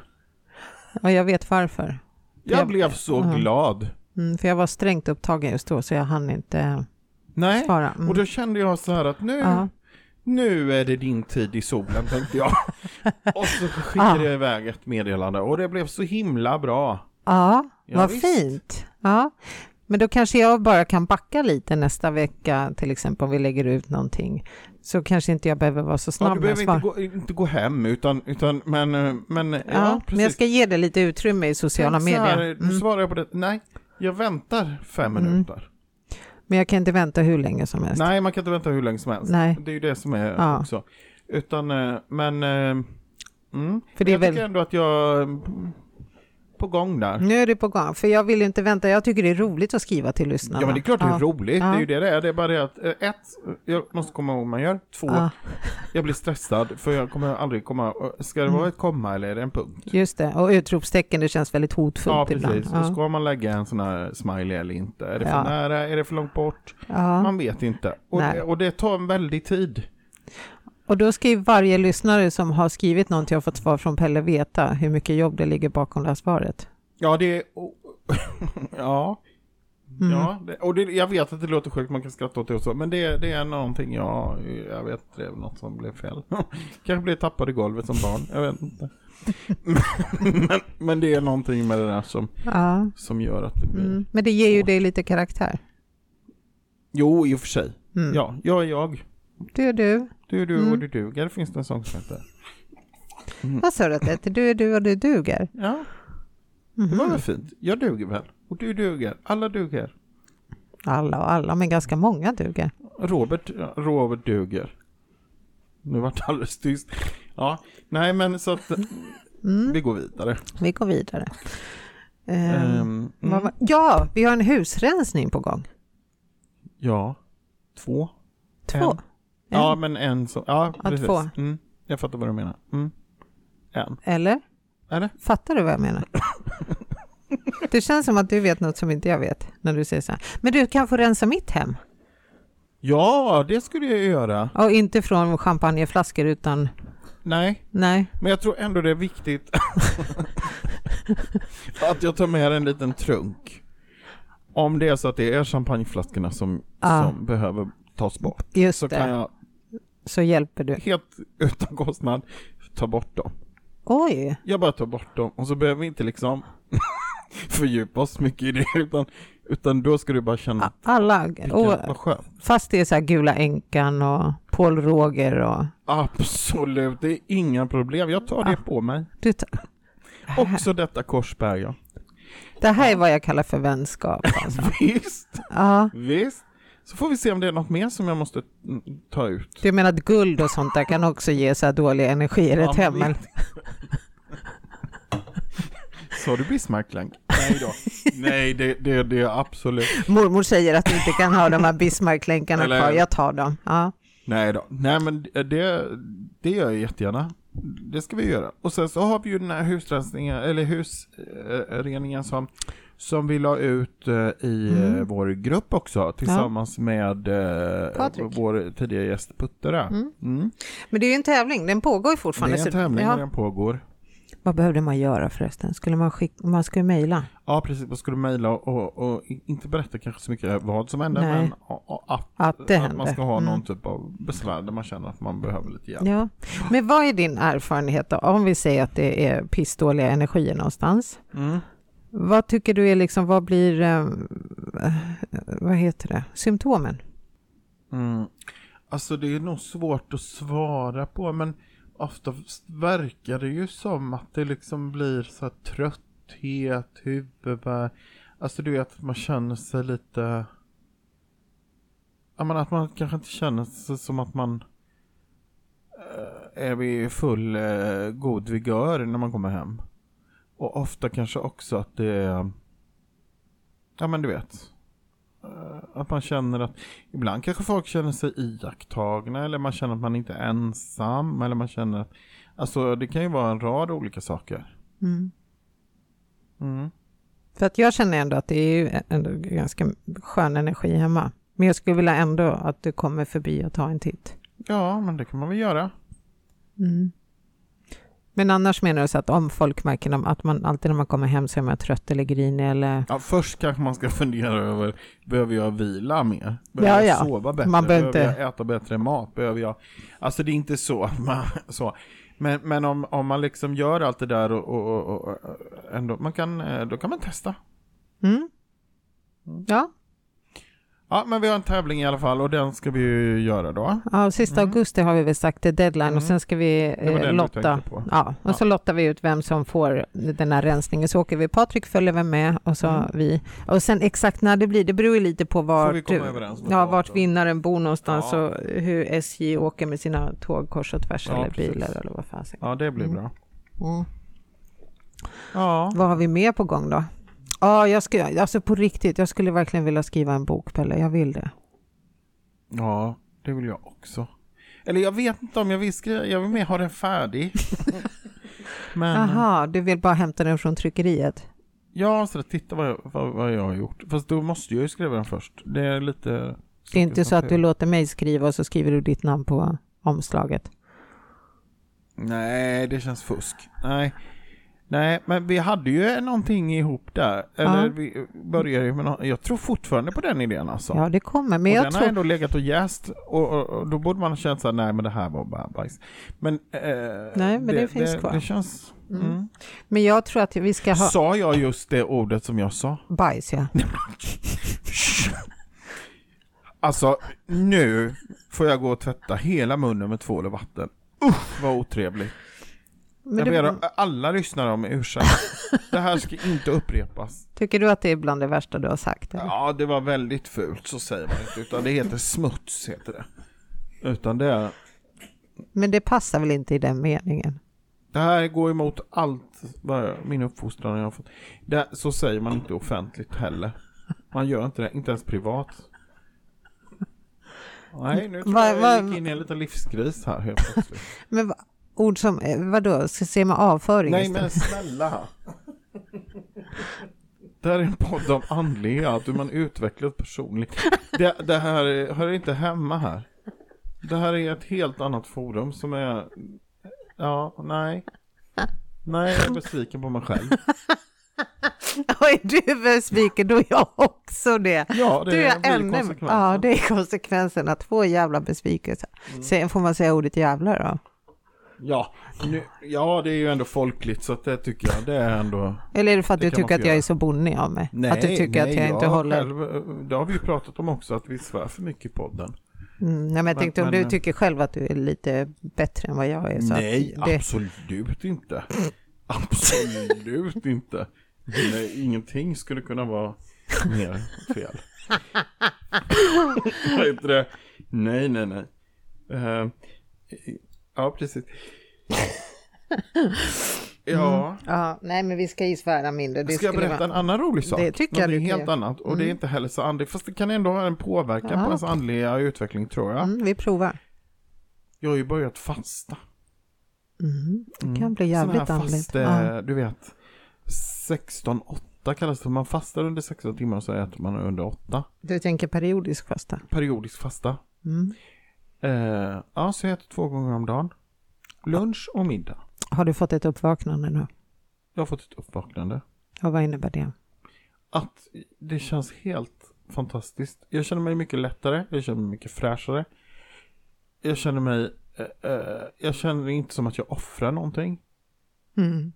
S3: Ja, jag vet varför.
S2: Jag
S3: Jag-
S2: blev så
S3: Ja.
S2: glad.
S3: Mm, för jag var strängt upptagen just då så jag hann inte
S2: Nej,
S3: svara. Mm.
S2: och då kände jag så här att nu,
S3: ja.
S2: nu är det din tid i solen tänkte jag. och så skickade jag iväg ett meddelande och det blev så himla bra.
S3: ja,
S2: Ja,
S3: vad
S2: visst.
S3: fint. Ja. Men då kanske jag bara kan backa lite nästa vecka, till exempel om vi lägger ut någonting. Så kanske inte jag behöver vara så snabb
S2: Ja, du
S3: med
S2: behöver
S3: svar.
S2: inte gå, inte gå hem utan, utan men, eh, men, ja,
S3: ja,
S2: precis.
S3: men jag ska ge det lite utrymme i sociala
S2: Tänk så
S3: medier.
S2: här, Nu
S3: Mm.
S2: svarar jag på det. Nej, jag väntar fem
S3: Mm.
S2: minuter.
S3: Men jag kan inte vänta hur länge som helst.
S2: Nej, man kan inte vänta hur länge som helst.
S3: Nej.
S2: Det är ju det som är
S3: Ja.
S2: också. Utan, eh, men... eh, Mm.
S3: För det är
S2: jag
S3: väl-
S2: tycker ändå att jag mm, på gång där.
S3: Nu är det på gång, för jag vill ju inte vänta. Jag tycker det är roligt att skriva till lyssnarna.
S2: Ja men det är klart det är roligt,
S3: Ja.
S2: det är ju det det är. Det är bara det att, eh, ett, jag måste komma ihåg vad man gör. Två,
S3: Ja,
S2: jag blir stressad för jag kommer aldrig komma, eh, ska det
S3: Mm.
S2: vara ett komma eller är det en punkt?
S3: just det. Och utropstecken, det känns väldigt hotfullt
S2: Ja precis,
S3: ibland.
S2: och ska man lägga en sån här smiley eller inte? Är det för
S3: Ja.
S2: nära, är det för långt bort?
S3: Ja.
S2: Man vet inte. Och
S3: Nej.
S2: det, och det tar en väldig tid.
S3: Och då ska ju varje lyssnare som har skrivit någonting och fått svar från Pelle veta hur mycket jobb det ligger bakom det här svaret.
S2: Ja det är, och, ja.
S3: Mm.
S2: Ja, det, och det, jag vet att det låter sjukt, man kan skratta åt det och så, men det, det är någonting jag, jag vet, det är något som blev fel. Kanske blev tappad i golvet som barn, jag vet inte. men, men det är någonting med det där som,
S3: Ja.
S2: som gör att det blir...
S3: Mm. Men det ger ju dig lite karaktär.
S2: Jo, i och för sig.
S3: Mm.
S2: Ja, jag är jag.
S3: Du är du.
S2: Du är du
S3: Mm.
S2: och du duger, finns det en sång som heter.
S3: Vad sa du att det heter? Du är du och du duger.
S2: Ja, det var
S3: Mhm.
S2: väl fint. Jag duger väl. Och du duger. Alla duger.
S3: Alla och alla, men ganska många duger.
S2: Robert, ja, Robert duger. Nu vart det alldeles tyst. Ja, nej men så att
S3: Mm.
S2: vi går vidare.
S3: Vi går vidare. Ehm,
S2: Ehm,
S3: vad
S2: mm,
S3: var- Ja, vi har en husrensning på gång.
S2: ja, två. En.
S3: Två. En.
S2: Ja, men en som... Ja,
S3: Ja,
S2: precis.
S3: två.
S2: Mm, jag fattar vad du menar. Mm. En.
S3: Eller?
S2: Eller?
S3: Fattar du vad jag menar? Det känns som att du vet något som inte jag vet när du säger så här. Men du kan få rensa mitt hem.
S2: Ja, det skulle jag göra.
S3: Och inte från champagneflaskor utan,
S2: Nej,
S3: nej,
S2: Men jag tror ändå det är viktigt att jag tar med en liten trunk. Om det är så att det är champagneflaskorna som,
S3: Ja.
S2: som behöver tas bort
S3: just
S2: så
S3: det,
S2: kan jag
S3: så hjälper du.
S2: helt utan kostnad ta bort dem.
S3: Oj,
S2: Jag bara tar bort dem och så behöver vi inte liksom fördjupa oss mycket i det utan, utan då ska du bara känna
S3: a- alla,
S2: vilken,
S3: och,
S2: vad skönt.
S3: fast det är så här Gula Änkan och Paul Roger och
S2: Absolut, det är inga problem. Jag tar det på mig.
S3: du, tar-
S2: Också detta kors bär jag.
S3: det här är vad jag kallar för vänskap. Alltså.
S2: Visst!
S3: Ja,
S2: Visst. Så får vi se om det är något mer som jag måste mm, ta ut.
S3: du menar att guld och sånt där kan också ge så här dålig energi i ett
S2: Ja,
S3: hem?
S2: men
S3: eller?
S2: Sa du Bismarcklank? Nej då. Nej, det, det, det är absolut.
S3: Mormor säger att du inte kan ha de här Bismarcklänkarna
S2: Eller-
S3: kvar, jag tar dem. Ja.
S2: Nej då. Nej men det, det gör jag jättegärna. Det ska vi göra. Och sen så har vi ju den här husrensningen, eller husreningen som, som vi la ut eh, i
S3: Mm.
S2: eh, vår grupp också tillsammans med eh,
S3: Patrik.
S2: vår tidigare gäst Putte där.
S3: Mm.
S2: Mm.
S3: Men det är ju en tävling, den pågår ju
S2: Det
S3: fortfarande.
S2: är en
S3: så-
S2: tävling och
S3: ja.
S2: den pågår.
S3: Vad behövde man göra förresten? Skulle man skicka, man skulle mejla?
S2: Ja, precis. Man skulle mejla och, och, och inte berätta kanske så mycket vad som hände,
S3: Nej.
S2: men och, och att,
S3: Att det
S2: att man
S3: händer.
S2: ska ha
S3: Mm.
S2: någon typ av besvär där man känner att man behöver lite hjälp.
S3: Ja. Men vad är din erfarenhet då? Om vi säger att det är pissdåliga energier någonstans.
S2: Mm.
S3: Vad tycker du är liksom, vad blir, eh, vad heter det, symptomen?
S2: Mm. Alltså det är nog svårt att svara på, men ofta verkar det ju som att det liksom blir så här trötthet, huvudvärk, alltså du vet att man känner sig lite, ja men att man kanske inte känner sig som att man eh, är vid full eh, god vigör när man kommer hem. Och ofta kanske också att det är, ja men du vet, Eh, att man känner att Ibland kanske folk känner sig iakttagna eller man känner att man inte är ensam eller man känner att Alltså det kan ju vara en rad olika saker. Mm.
S3: För att jag känner ändå att det är ju ändå ganska skön energi hemma. Men jag skulle vilja ändå att du kommer förbi och tar en titt.
S2: Ja, men det kan man väl göra.
S3: Men annars menar du så att om folk märker att man alltid när man kommer hem så är man trött eller grinig eller
S2: Ja, först kanske man ska fundera över, behöver jag vila mer?
S3: Ja,
S2: Behöver
S3: ja.
S2: jag sova bättre?
S3: Man behöver
S2: behöver
S3: inte-
S2: jag äta bättre mat? Behöver jag... Alltså det är inte så. att Man, så. Men, men om, om man liksom gör allt det där och, och, och, och och ändå, man kan, eh, då kan man testa.
S3: Mm. Ja,
S2: Ja, men vi har en tävling i alla fall och den ska vi ju göra då.
S3: ja och sista augusti har vi väl sagt det är deadline och sen ska vi
S2: Mm. var den
S3: eh,
S2: du
S3: lotta.
S2: tänkte på.
S3: Ja, och så lottar vi ut vem som får den här rensningen. Så åker vi, Patrik följer väl med och så vi. Och sen exakt när det blir, det beror ju lite på
S2: Mm. Får
S3: vart,
S2: vi komma överens om
S3: ja,
S2: ett
S3: vart
S2: datum.
S3: vinnaren bor någonstans
S2: Ja.
S3: och hur SJ åker med sina tåg kors och tvärs
S2: Ja,
S3: eller
S2: precis.
S3: Mm. bilar eller vad fasen.
S2: Ja, det blir bra.
S3: Mm.
S2: Ja.
S3: Vad har vi mer på gång då? Ja, jag ska, alltså på riktigt, jag skulle verkligen vilja skriva en bok Pelle, jag vill det.
S2: ja, det vill jag också. Eller jag vet inte om jag vill skriva, jag vill mer ha den färdig. Men,
S3: Aha, du vill bara hämta den från tryckeriet?
S2: ja, så att titta vad jag, vad, vad jag har gjort. Fast då måste jag ju skriva den först. Det är lite...
S3: Det är inte så att du låter mig skriva och så skriver du ditt namn på omslaget?
S2: Nej, det känns fusk. Nej. Nej, men vi hade ju någonting ihop där. Eller
S3: Ja.
S2: vi började ju med nå- Jag tror fortfarande på den idén alltså.
S3: Ja, det kommer, men
S2: och
S3: jag
S2: den
S3: tror...
S2: har ändå legat och jäst och, och, och då borde man ha känt såhär, nej men det här var bara bajs. Men, eh, nej,
S3: men det finns kvar.
S2: Det känns... Mm.
S3: Men jag tror att vi ska ha
S2: Sa jag just det ordet som jag sa?
S3: bajs, ja.
S2: Alltså, nu får jag gå och tvätta hela munnen med tvål och vatten. Usch, vad otrevligt.
S3: Men
S2: jag
S3: du,
S2: ber alla lyssnare om ursäkt. det här ska inte upprepas.
S3: tycker du att det är bland det värsta du har sagt? Eller?
S2: Ja, det var väldigt fult, så säger man inte. Utan det heter smuts, heter det. Utan det är...
S3: Men det passar väl inte i den meningen?
S2: Det här går emot allt vad jag- min uppfostran jag har fått. Det, så säger man inte offentligt heller. Man gör inte det, inte ens privat. Nej, nu tror
S3: Va-
S2: jag
S3: va-
S2: jag gick in i en liten livskris här helt plötsligt.
S3: Men va, ord som, eh, vadå, ska se med avföring
S2: Nej
S3: istället?
S2: men snälla. Det här är en podd om andlighet, hur man utvecklas personligt. Det, det här är- hör inte hemma här. Det här är ett helt annat forum som är... Ja, nej. Nej, jag är besviken på mig själv.
S3: Och är du besviken, då är jag också det.
S2: Ja, det
S3: Du är
S2: blir
S3: ännu,
S2: konsekvensen.
S3: ja, det är konsekvensen att få jävla besvikelse.
S2: Mm.
S3: Sen får man säga ordet jävla då?
S2: Ja, nu, ja, det är ju ändå folkligt så att det tycker jag, det är ändå...
S3: Eller är det för att
S2: Det
S3: du
S2: kan
S3: tycker
S2: man
S3: att
S2: få
S3: jag är
S2: göra.
S3: så bonnig av mig? att du tycker att jag inte
S2: har
S3: håller...
S2: Själv, det har vi ju pratat om också, att vi svär för mycket i podden.
S3: Mm, nej, men jag
S2: Men-
S3: tänkte om
S2: men- eh,
S3: du tycker själv att du är lite bättre än vad jag är. Så
S2: Nej,
S3: att det,
S2: absolut inte. Absolut inte. Nej, ingenting skulle kunna vara mer fel. Vad heter det? Nej, nej, nej. Eh, ja, precis. Ja.
S3: ja, nej, men vi ska ju svära mindre. Det
S2: Ska jag
S3: skulle
S2: berätta
S3: vara-
S2: en annan rolig sak?
S3: Det tycker jag
S2: Någonting
S3: du kan Mm.
S2: helt
S3: göra.
S2: annat och det är inte heller så andligt. Fast det kan ändå ha en påverkan på ens andliga utveckling tror jag.
S3: Mm, vi provar.
S2: Jag har ju börjat fasta.
S3: Det kan bli
S2: Mm. Sån här
S3: jävligt andligt.
S2: fast,
S3: Ja.
S2: eh, du vet, 16-8 kallas det. Man fastar under 16 timmar och så äter man under 8.
S3: Du tänker periodisk fasta?
S2: Periodisk fasta.
S3: Mm.
S2: Eh, ja, så jag äter två gånger om dagen. Lunch och middag.
S3: Har du fått ett uppvaknande nu?
S2: Jag har fått ett uppvaknande.
S3: Och vad innebär det?
S2: Att det känns helt fantastiskt. Jag känner mig mycket lättare. Jag känner mig mycket fräschare. Jag känner mig... Eh, eh, jag känner inte som att jag offrar någonting.
S3: Mm.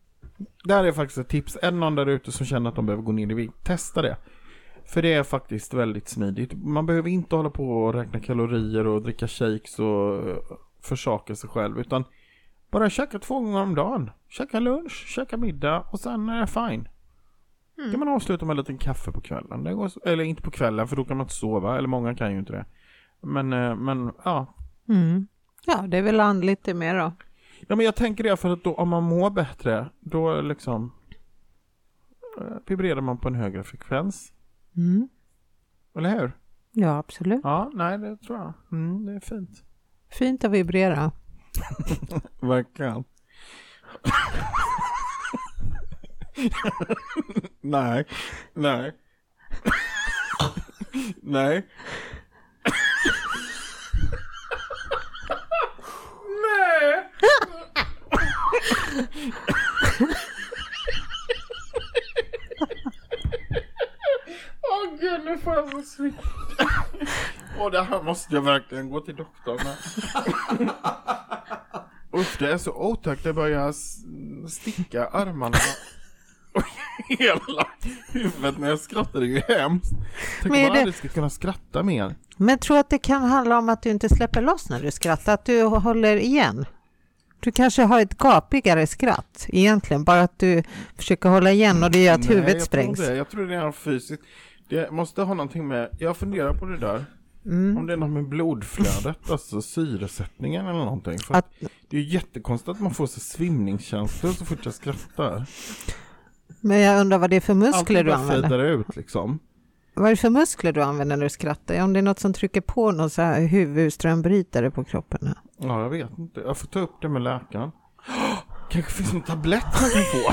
S2: Där är faktiskt ett tips. Är det någon där ute som känner att de behöver gå ner i vikt, testa det. För det är faktiskt väldigt smidigt. Man behöver inte hålla på och räkna kalorier och dricka shakes och eh, försaka sig själv. Utan bara käka två gånger om dagen. Käka lunch, käka middag och sen är det fine. kan man avsluta med en liten kaffe på kvällen. Det går, så- eller inte på kvällen för då kan man inte sova. Eller många kan ju inte det. Men, eh, men ja.
S3: Mm. Ja, det är väl andligt det med då.
S2: Ja men jag tänker det för att då, om man mår bättre, då liksom eh, vibrerar man på en högre frekvens.
S3: Mm.
S2: Eller hur?
S3: Ja, absolut.
S2: Ja, nej det tror jag. Mm, det är fint.
S3: Fint att vibrera.
S2: Verkligen. nej, nej. nej. nej. Åh gud, nu får jag så svett. Åh, det här måste jag verkligen gå till doktorn med. Usch, det är så otäckt. Det börjar s- sticka armarna och hela huvudet när jag skrattar. Det är ju hemskt.
S3: Men
S2: Tänk om
S3: är
S2: man
S3: det-
S2: aldrig ska kunna skratta mer.
S3: Men tror att det kan handla om att du inte släpper loss när du skrattar, att du håller igen? Du kanske har ett gapigare skratt egentligen, bara att du försöker hålla igen och det gör att
S2: Nej,
S3: huvudet
S2: jag tror
S3: sprängs.
S2: inte det. Jag tror det är fysiskt. Det måste ha någonting med... Jag funderar på det där.
S3: Mm.
S2: Om det är något med blodflödet, alltså syresättningen eller någonting. För att,
S3: Att-
S2: det är ju jättekonstigt att man får så svimningskänslor så fort jag skrattar.
S3: Men jag undrar vad det är för muskler du
S2: bara
S3: använder?
S2: fejdar ut liksom.
S3: Vad är det för muskler du använder när du skrattar? Om det är något som trycker på någon så här huvudströmbrytare på kroppen? Här.
S2: Ja, jag vet inte. Jag får ta upp det med läkaren. Kanske finns en tablett man kan få.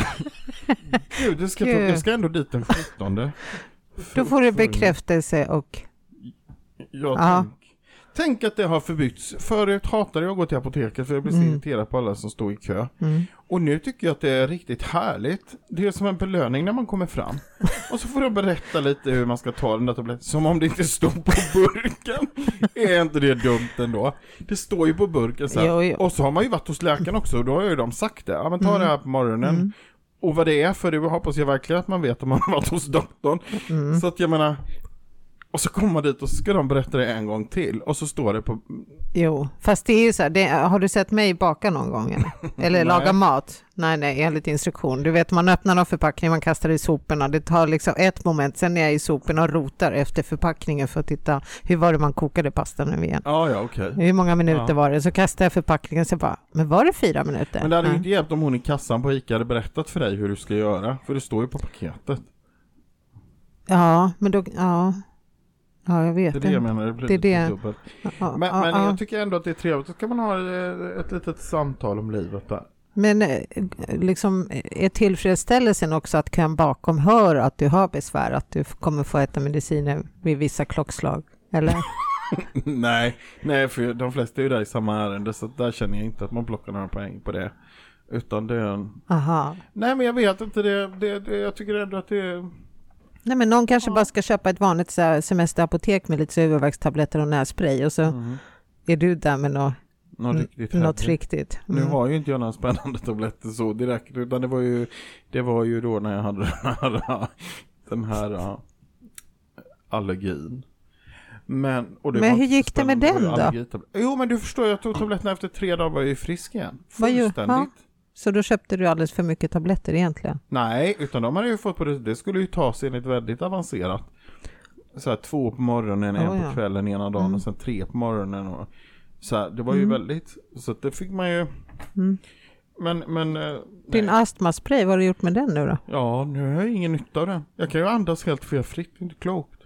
S2: Gud, jag ska, ta,
S3: Gud.
S2: jag ska ändå dit den 17.
S3: Då får du bekräftelse och
S2: Jag
S3: Ja.
S2: tänk, tänk att det har förbytts. Förut hatade jag att gå till apoteket för jag blev så irriterad på alla som stod i kö. Och nu tycker jag att det är riktigt härligt. Det är som en belöning när man kommer fram. Och så får de berätta lite hur man ska ta den där tabletten. Som om det inte stod på burken. är inte det dumt ändå? Det står ju på burken så här.
S3: Jo, jo.
S2: Och så har man ju varit hos läkaren också och då har ju de sagt det. Ja men ta det här på morgonen. Och vad det är för det hoppas jag verkligen att man vet om man har varit hos doktorn. Så att jag menar, och så kommer man dit och så ska de berätta det en gång till och så står det på
S3: Jo, fast det är ju så här, det, har du sett mig baka någon gång eller? Eller laga mat? Nej, nej, enligt instruktion. Du vet, man öppnar någon förpackning, man kastar i soporna. Det tar liksom ett moment, sen är jag i soporna och rotar efter förpackningen för att titta hur var det man kokade pastan nu igen.
S2: Ja, ja okej.
S3: Hur många minuter
S2: Ja.
S3: var det? Så kastar jag förpackningen, så bara, men var det fyra minuter?
S2: Men det hade ju
S3: Nej.
S2: inte hjälpt om hon i kassan på ICA hade berättat för dig hur du ska göra. För det står ju på paketet.
S3: Ja, men då, ja. Ja, jag
S2: Det är
S3: vet
S2: det jag
S3: inte.
S2: menar, det blir
S3: Det är
S2: lite
S3: det.
S2: dubbelt.
S3: Ja,
S2: Men,
S3: ja,
S2: men
S3: ja.
S2: jag tycker ändå att det är trevligt. Då kan man ha eh, ett litet samtal om livet där.
S3: Men eh, liksom eh, är tillfredsställelsen också att kön bakom hör att du har besvär, att du f- kommer få äta mediciner vid vissa klockslag? Eller?
S2: nej, nej, för de flesta är ju där i samma ärende. Så att där känner jag inte att man plockar några poäng på det. Utan det är en...
S3: Aha.
S2: Nej, men jag vet inte. Det, det, det, jag tycker ändå att det är...
S3: Nej, men någon kanske bara ska köpa ett vanligt så här, semesterapotek med lite så här huvudvärkstabletter och nässpray och så
S2: Mm.
S3: är du där med nå-
S2: Något riktigt
S3: något
S2: härligt.
S3: riktigt. Mm.
S2: Nu har ju inte jag några spännande tabletter så direkt utan det var ju, det var ju då när jag hade den här, den här äh, allergin. Men, och det
S3: Men
S2: var
S3: hur
S2: inte så
S3: gick det med
S2: spännande,
S3: den
S2: var ju
S3: då?
S2: allergitablet- Jo men du förstår, jag tog tabletterna efter tre dagar var jag ju frisk igen.
S3: Vad gör-
S2: Fullständigt.
S3: ja. Så då köpte du alldeles för mycket tabletter egentligen?
S2: Nej, utan de hade ju fått på det, det skulle ju tas enligt väldigt avancerat. Så här två på morgonen, en
S3: Oh,
S2: på
S3: ja.
S2: kvällen ena dagen och sen tre på morgonen. Och, så här, det var
S3: Mm.
S2: ju väldigt, så att det fick man ju. Men, men. eh,
S3: Din
S2: nej.
S3: astmaspray, vad har du gjort med den nu då?
S2: Ja, nu har jag ingen nytta av den. Jag kan ju andas helt felfritt, det är inte klokt.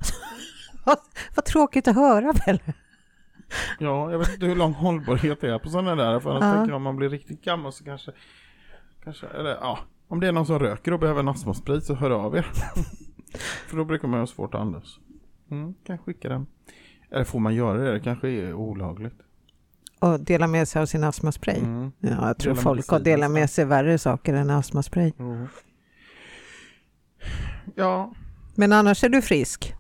S3: Vad, vad tråkigt att höra väl?
S2: Ja, jag vet inte hur lång hållbarhet det är på sådana där, för annars
S3: Ja.
S2: tänker jag om man blir riktigt gammal så kanske, kanske, eller ja, om det är någon som röker och behöver en astmasprit så hör av er. för då brukar man ha svårt att andas. Mm, kan jag skicka den. Eller får man göra det? Det kanske är olagligt.
S3: Och dela med sig av sin astmaspray?
S2: Mm.
S3: Ja, jag tror
S2: Dela
S3: folk har
S2: medicin
S3: delat med sig värre saker än astmaspray.
S2: Jo. Ja,
S3: Men annars är du frisk.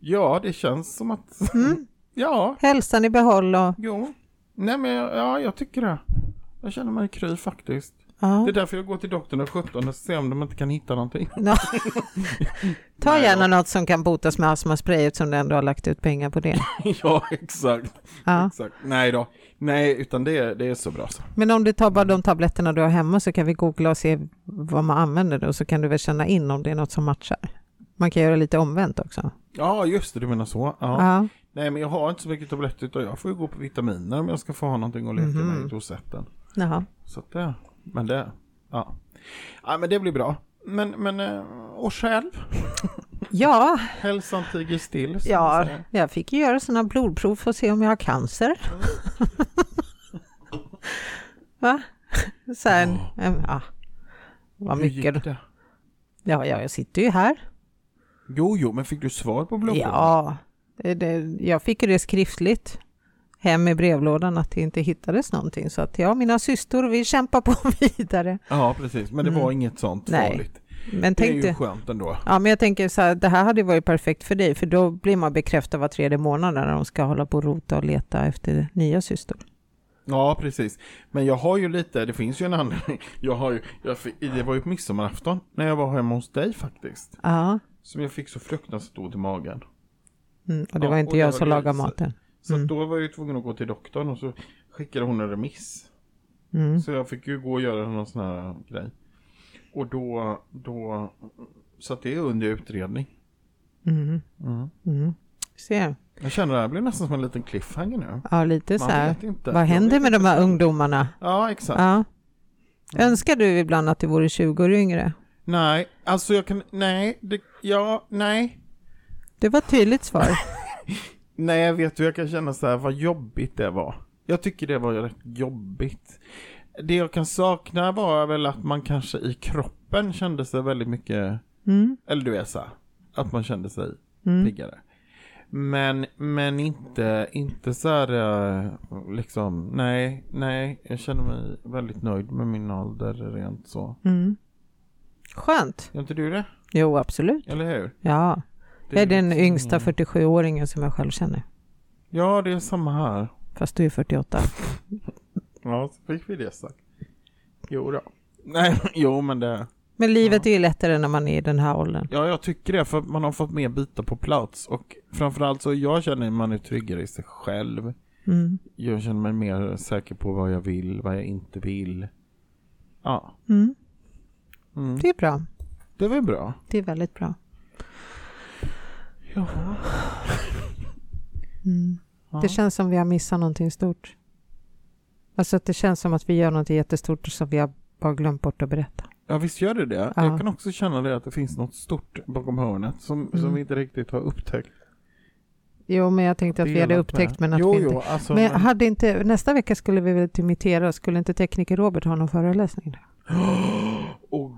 S2: ja, det känns som att,
S3: Mm.
S2: ja,
S3: Hälsan i behåll och...
S2: jo. Nej men jag- ja, jag tycker det. Jag känner mig kry faktiskt.
S3: Ja.
S2: Det är därför jag går till doktorn den 17 och ser om de inte kan hitta någonting.
S3: Ja. Ta gärna något som kan botas med astmaspray eftersom du ändå har lagt ut pengar på det.
S2: ja, exakt.
S3: Ja.
S2: exakt. Nej då. Nej, utan det, det är så bra så.
S3: Men om du tar bara de tabletterna du har hemma så kan vi googla och se vad man använder då, så kan du väl känna in om det är något som matchar. Man kan göra lite omvänt också.
S2: Ja, just det, du menar så. Ja.
S3: Ja.
S2: Nej, men jag har inte så mycket tabletter utan jag får ju gå på vitaminer om jag ska få ha någonting att leka
S3: Mhm.
S2: med i dosetten.
S3: Jaha.
S2: Så att det, men det, ja. Ja, men det blir bra. Men, men, eh, och själv?
S3: Ja,
S2: Hälsan tiger still. som man
S3: ja,
S2: säger.
S3: jag fick ju göra sådana blodprov för att se om jag har cancer.
S2: Mm.
S3: Va? Så här, en, en, ja. Vad
S2: Hur gick
S3: mycket.
S2: det?
S3: Ja, ja, jag sitter ju här.
S2: Jo, jo, men fick du svar på blodprovet?
S3: Ja, det, det, jag fick ju det skriftligt hem i brevlådan att det inte hittades någonting. Så att jag och mina systor, vi kämpar på vidare.
S2: Ja, precis. Men det var inget sånt
S3: Mm. Nej.
S2: farligt.
S3: Men
S2: Det är ju
S3: tänkte,
S2: skönt ändå.
S3: ja, men jag tänker så här, det här hade ju varit perfekt för dig, för då blir man bekräftad var tredje månad när de ska hålla på och rota och leta efter nya systor.
S2: Ja, precis. Men jag har ju lite, det finns ju en anledning. Jag har ju, jag fick, det var ju på midsommarafton när jag var hemma hos dig faktiskt.
S3: Ja,
S2: Som jag fick så fruktansvärt ont i magen.
S3: mm, och det
S2: Ja,
S3: var
S2: och
S3: inte
S2: det
S3: jag
S2: var
S3: som
S2: det.
S3: lagade maten.
S2: Så
S3: Mm.
S2: att då var jag ju tvungen att gå till doktorn och så skickade hon en remiss.
S3: Mm.
S2: Så jag fick ju gå och göra någon sån här grej. Och då, då, så att det är under utredning.
S3: Mm. Mm. Se,
S2: Jag känner det här blir nästan som en liten cliffhanger nu.
S3: Ja, lite så
S2: Man
S3: här.
S2: vet inte.
S3: Vad
S2: Jag
S3: händer
S2: vet
S3: med de
S2: inte.
S3: här ungdomarna?
S2: Ja, exakt.
S3: Ja. Önskar du ibland att du vore 20 år yngre?
S2: Nej, alltså jag kan, nej, det, ja, nej.
S3: Det var ett tydligt svar.
S2: Nej, vet du, jag kan känna så här, vad jobbigt det var. Jag tycker det var rätt jobbigt. Det jag kan sakna var väl att man kanske i kroppen kände sig väldigt mycket,
S3: Mm.
S2: eller du vet så här, att man kände sig
S3: Mm.
S2: piggare. Men, men inte, inte så här, eh, liksom, nej, nej, jag känner mig väldigt nöjd med min ålder rent så.
S3: Mm. Skönt.
S2: Gör inte du det?
S3: Jo, absolut.
S2: Eller hur?
S3: Ja, jag är den
S2: liksom
S3: yngsta
S2: ingen-
S3: 47-åringen som jag själv känner.
S2: Ja, det är samma här.
S3: Fast du är 48.
S2: Ja, så fick vi det sagt. Jo då. Nej, jo men det...
S3: Men livet är ju lättare när man är i den här åldern.
S2: Ja, jag tycker det för att man har fått mer bitar på plats och framförallt så jag känner att man är tryggare i sig själv.
S3: Mm.
S2: Jag känner mig mer säker på vad jag vill, vad jag inte vill. Ja,
S3: Mm.
S2: mm.
S3: Det är bra.
S2: det var ju bra.
S3: Det är väldigt bra.
S2: Ja.
S3: Mm.
S2: Ja.
S3: Det känns som vi har missat någonting stort. Alltså att det känns som att vi gör något jättestort som vi har bara glömt bort att berätta.
S2: ja, visst gör det det.
S3: Ja.
S2: Jag kan också känna det att det finns något stort bakom hörnet som, som
S3: Mm.
S2: vi inte riktigt har upptäckt.
S3: Jo, men jag tänkte att vi hade
S2: Delat
S3: upptäckt,
S2: med.
S3: men att
S2: jo,
S3: vi inte...
S2: Jo, alltså,
S3: Men
S2: men,
S3: hade inte, nästa vecka skulle vi väl imitera, skulle inte tekniker Robert ha någon föreläsning? där?
S2: Åh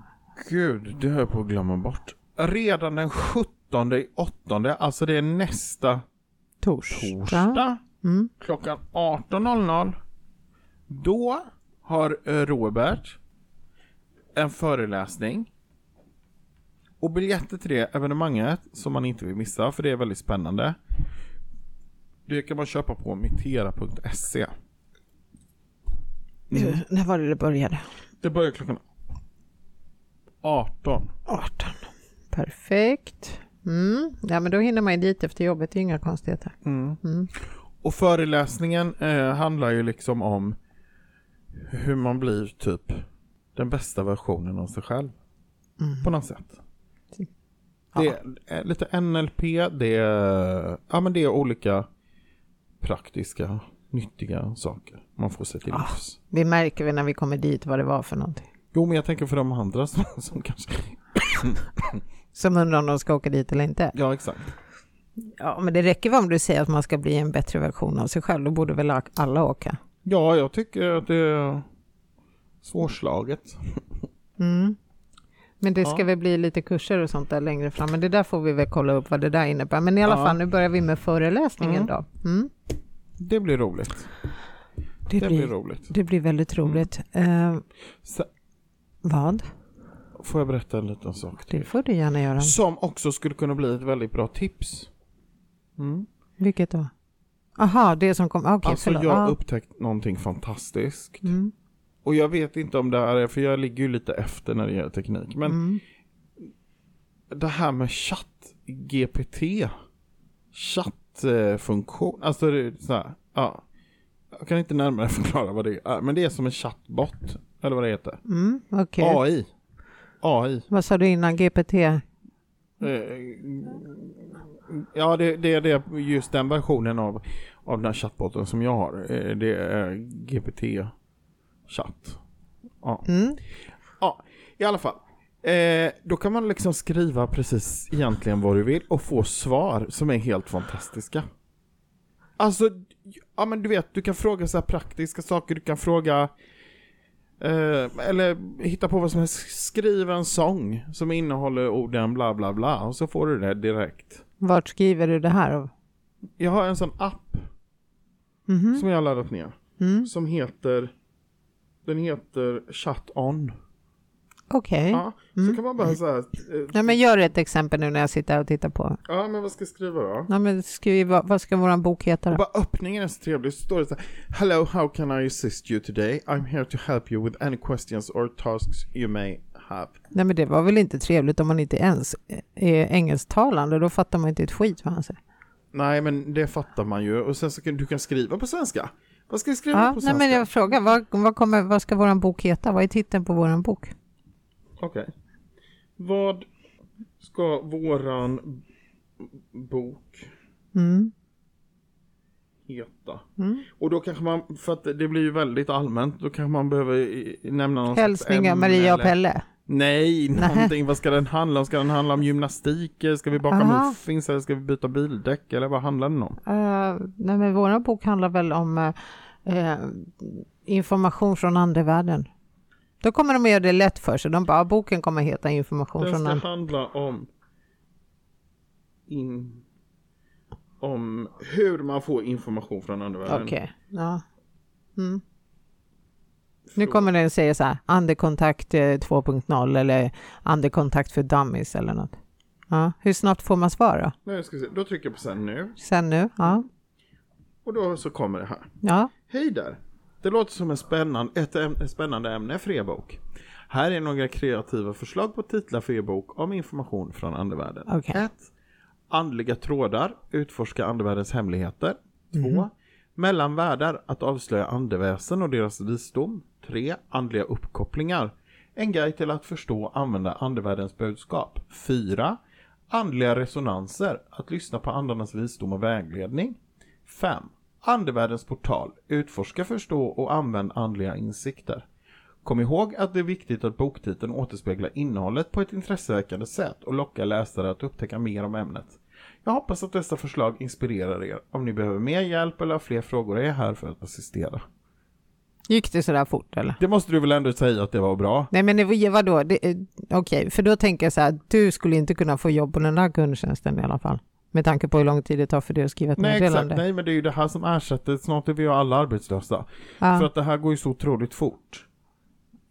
S2: gud, det höll jag på att glömma bort. Redan den 17 i åttonde, alltså det är nästa
S3: Torsdag.
S2: torsdag
S3: Mm.
S2: klockan 18.00. Då har eh, Robert en föreläsning. Och biljetter till det evenemanget som man inte vill missa för det är väldigt spännande. Det kan man köpa på mitera.se.
S3: Nu- Mm. När var det det började?
S2: Det börjar klockan 18.
S3: 18. Perfekt. Mm. Ja, men då hinner man ju dit efter jobbet, det är inga konstigheter. Mm.
S2: Och föreläsningen eh, handlar ju liksom om hur man blir typ den bästa versionen av sig själv.
S3: Mm.
S2: På något sätt.
S3: Typ.
S2: Det är eh, lite NLP, det är, ja, men det är olika praktiska, nyttiga saker man får sig till
S3: Ah.
S2: livs.
S3: Vi märker väl när vi kommer dit vad det var för någonting.
S2: Jo, men jag tänker för de andra som, som kanske...
S3: Som undrar om de ska åka dit eller inte.
S2: Ja, exakt.
S3: Ja, men det räcker väl om du säger att man ska bli en bättre version av sig själv. Då borde väl alla åka.
S2: Ja, jag tycker att det är svårslaget.
S3: Mm. Men det ska
S2: Ja.
S3: väl bli lite kurser och sånt där längre fram. Men det där får vi väl kolla upp vad det där innebär. Men i alla
S2: Ja.
S3: fall, nu börjar vi med föreläsningen
S2: Mm.
S3: då. Mm.
S2: Det blir roligt.
S3: Det,
S2: Det
S3: blir,
S2: blir roligt.
S3: det blir väldigt roligt. Eh,
S2: Så,
S3: vad?
S2: får jag berätta en liten sak till?
S3: Det får du gärna göra.
S2: Som också skulle kunna bli ett väldigt bra tips. Mm.
S3: Vilket då? Aha, det som kom. Okej,
S2: Alltså
S3: förlåt.
S2: jag
S3: Ah.
S2: har upptäckt någonting fantastiskt.
S3: Mm.
S2: Och jag vet inte om det här är, för jag ligger ju lite efter när det gäller teknik. Men
S3: Mm.
S2: det här med chatt GPT. Chattfunktion. Alltså det är så här, ja. Jag kan inte närmare förklara vad det är. Men det är som en chattbot. Eller vad det heter.
S3: Mm. Okej.
S2: AI. AI.
S3: Vad sa du innan? GPT?
S2: Eh, Ja, det, det, det är just den versionen av, av den här chattbotten som jag har. Eh, Det är GPT-chatt.
S3: Mm.
S2: Ja, i alla fall. Eh, då kan man liksom skriva precis egentligen vad du vill och få svar som är helt fantastiska. Alltså, ja men du vet, du kan fråga så här praktiska saker, du kan fråga eh, eller hitta på vad som helst, skriv en sång som innehåller orden bla bla bla och så får du det direkt.
S3: Vart skriver du det här? av?
S2: Jag har en sån app
S3: Mhm.
S2: som jag har laddat ner
S3: Mm.
S2: som heter, den heter Chat
S3: Mm.
S2: On.
S3: Okej.
S2: Ja,
S3: Mm.
S2: så kan man bara så här, eh,
S3: Ja, men gör ett exempel nu när jag sitter här och tittar på.
S2: Ja, men vad ska jag skriva då?
S3: Ja, men skriv, vad vad ska vår bok heta
S2: Och
S3: då?
S2: bara öppningen är så trevlig, så står det så här Hello, how can I assist you today? I'm here to help you with any questions or tasks you may have.
S3: Nej, men det var väl inte trevligt om man inte ens är engelsktalande. Då fattar man inte ett skit vad han säger.
S2: Nej, men det fattar man ju. Och sen så kan du kan skriva på svenska. Vad ska jag skriva
S3: Ja,
S2: Mm. på
S3: nej,
S2: svenska?
S3: men jag frågar, vad, vad, kommer, vad ska vår bok heta? Vad är titeln på vår bok?
S2: Okej. Vad ska våran bok
S3: Mm.
S2: heta.
S3: Mm.
S2: Och då kanske man, för att det blir ju väldigt allmänt, då kanske man behöver i- i- nämna någon slags
S3: Hälsningar
S2: ämne
S3: Maria och
S2: eller-
S3: Pelle.
S2: Nej,
S3: Nej.
S2: någonting. Vad ska den handla om? Ska den handla om gymnastik? Eller Ska vi baka
S3: Aha.
S2: muffins? Eller ska vi byta bildäck? Eller vad handlar den om?
S3: Uh, nej, men vår bok handlar väl om eh, eh, information från andevärlden. Då kommer de att göra det lätt för sig. De bara, "Ah, boken kommer heta information
S2: Den
S3: från
S2: ska
S3: andevärlden.
S2: handla om... In, om hur man får information från andra världen.
S3: Okej, ja. Mm. Nu kommer den säga så här, andekontakt eh, 2.0 eller andekontakt för dummies eller något. Ja. Hur snabbt får man svar då?
S2: Nu ska vi se. Då trycker jag på sen nu.
S3: Sen nu? Ja.
S2: Och då så kommer det här.
S3: ja.
S2: Hej där! Det låter som en spännande, ett, äm- ett spännande ämne för er bok. Här är några kreativa förslag på titlar för er bok om information från andevärlden.
S3: Okej.
S2: 1. Andliga trådar, utforska andevärldens hemligheter. 2. Mellan världar, att avslöja andeväsen och deras visdom. 3. Andliga uppkopplingar, en guide till att förstå och använda andevärldens budskap. 4. Andliga resonanser, att lyssna på andarnas visdom och vägledning. 5. Andevärldens portal. Utforska, förstå och använd andliga insikter. Kom ihåg att det är viktigt att boktiteln återspeglar innehållet på ett intresseväckande sätt och lockar läsare att upptäcka mer om ämnet. Jag hoppas att dessa förslag inspirerar er. Om ni behöver mer hjälp eller har fler frågor är jag här för att assistera.
S3: Gick det sådär fort eller?
S2: Det måste du väl ändå säga att det var bra?
S3: Nej men det var, vadå, det, eh, okej, för då tänker jag så här, du skulle inte kunna få jobb på den där kundtjänsten i alla fall. Med tanke på hur lång tid det tar för dig att skriva ett
S2: Nej exakt,
S3: meddelande.
S2: nej men det är ju det här som ersätter, snart är vi ju alla arbetslösa.
S3: Ja,
S2: För att det här går ju så otroligt fort.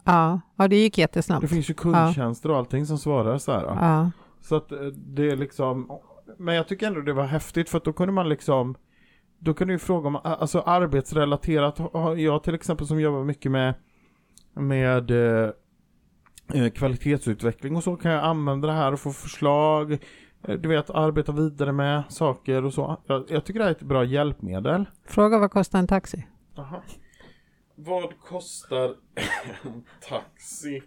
S3: ja, ja, det gick
S2: Det
S3: jättesnabbt.
S2: finns ju kundtjänster och allting som svarar så här.
S3: Ja,
S2: Så att eh, det är liksom, men jag tycker ändå det var häftigt för att då kunde man liksom, då kunde ju fråga om, alltså arbetsrelaterat, har jag till exempel som jobbar mycket med, med eh, eh, kvalitetsutveckling och så kan jag använda det här och få förslag, eh, du vet arbeta vidare med saker och så. Jag, jag tycker det här är ett bra hjälpmedel.
S3: fråga vad kostar en taxi?
S2: Liksom, Vad kostar en taxi?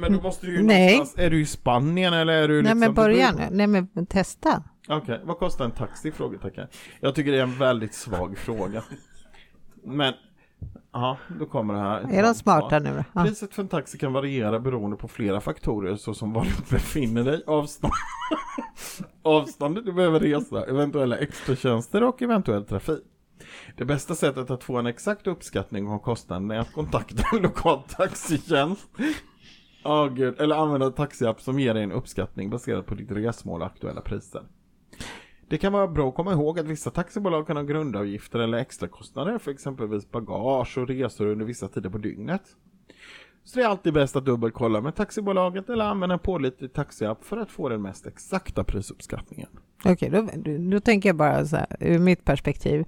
S2: Men då måste du ju
S3: Nej.
S2: någonstans- är du i Spanien eller är du
S3: Nej
S2: liksom,
S3: men
S2: det beror ju
S3: börja nu, nej men testa.
S2: Okej, vad kostar en taxi? Frågetecken. Jag tycker det är en väldigt svag fråga. Men, ja, då kommer det här.
S3: Är de smarta nu då? Ja.
S2: Priset för en taxi kan variera beroende på flera faktorer såsom var du befinner dig, avstånd, avståndet du behöver resa, eventuella extratjänster och eventuell trafik. Det bästa sättet att få en exakt uppskattning av kostnaden är att kontakta en lokal taxitjänst. Ja, gud. Eller använda en taxiapp som ger dig en uppskattning baserad på ditt resmål och aktuella priser. Det kan vara bra att komma ihåg att vissa taxibolag kan ha grundavgifter eller extrakostnader för exempelvis bagage och resor under vissa tider på dygnet. Så det är alltid bäst att dubbelkolla med taxibolaget eller använda en pålitlig taxiapp för att få den mest exakta prisuppskattningen.
S3: Okej, då, då tänker jag bara så här, ur mitt perspektiv.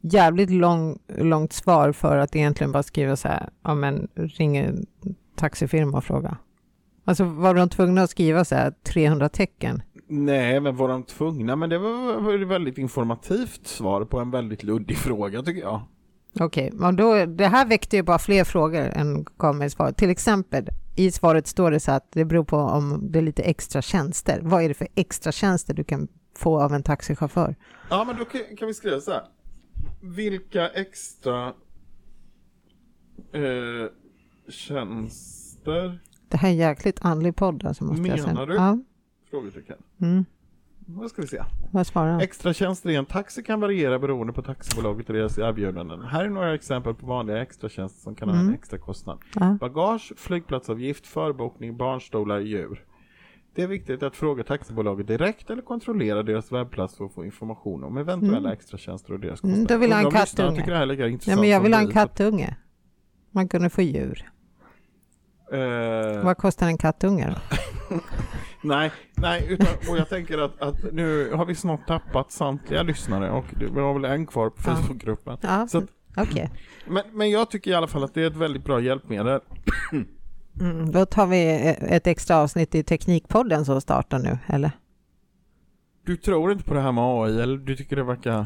S3: Jävligt lång, långt svar för att egentligen bara skriva så här, ja men ring en taxifirma och fråga. Alltså var de tvungna att skriva så här 300 tecken?
S2: Nej, men var de tvungna? Men det var var ett väldigt informativt svar på en väldigt luddig fråga tycker jag.
S3: Okej, men då, det här väckte ju bara fler frågor än gav mig svar. Till exempel, i svaret står det så att det beror på om det är lite extra tjänster. Vad är det för extra tjänster du kan få av en taxichaufför?
S2: Ja, men då kan, kan vi skriva så här. Vilka extra eh, tjänster?
S3: Det här är jäkligt andlig podd alltså, måste jag säga.
S2: Menar du?
S3: Ja,
S2: Frågetecken.
S3: Mm.
S2: Vad ska vi se?
S3: vad svarar han?
S2: Extra tjänster i en taxi kan variera beroende på taxibolaget och deras erbjudanden. Här är några exempel på vanliga extratjänster som kan ha en extra kostnad.
S3: Mm. Ja.
S2: Bagage, flygplatsavgift, förbokning, barnstolar, djur. Det är viktigt att fråga taxibolaget direkt eller kontrollera deras webbplats för att få information om eventuella extratjänster och deras kostnader.
S3: Mm, då vill jag ha en
S2: Undrar om lyssnarna
S3: kattunge.
S2: tycker det här är lika
S3: Nej,
S2: intressant
S3: men jag
S2: som
S3: vill ha en
S2: vi.
S3: kattunge. Man kunde få djur.
S2: Eh,
S3: Vad kostar en kattunge då?
S2: Nej, nej, utan, och jag tänker att, att nu har vi snart tappat samtliga lyssnare och det- vi har väl en kvar på
S3: Ja.
S2: Facebookgruppen.
S3: Ja,
S2: Så att-
S3: okej.
S2: Men, men jag tycker i alla fall att det är ett väldigt bra hjälpmedel.
S3: Mm, då tar vi eh, ett extra avsnitt i Teknikpodden som startar nu, eller?
S2: Du tror inte på det här med AI eller du tycker det verkar...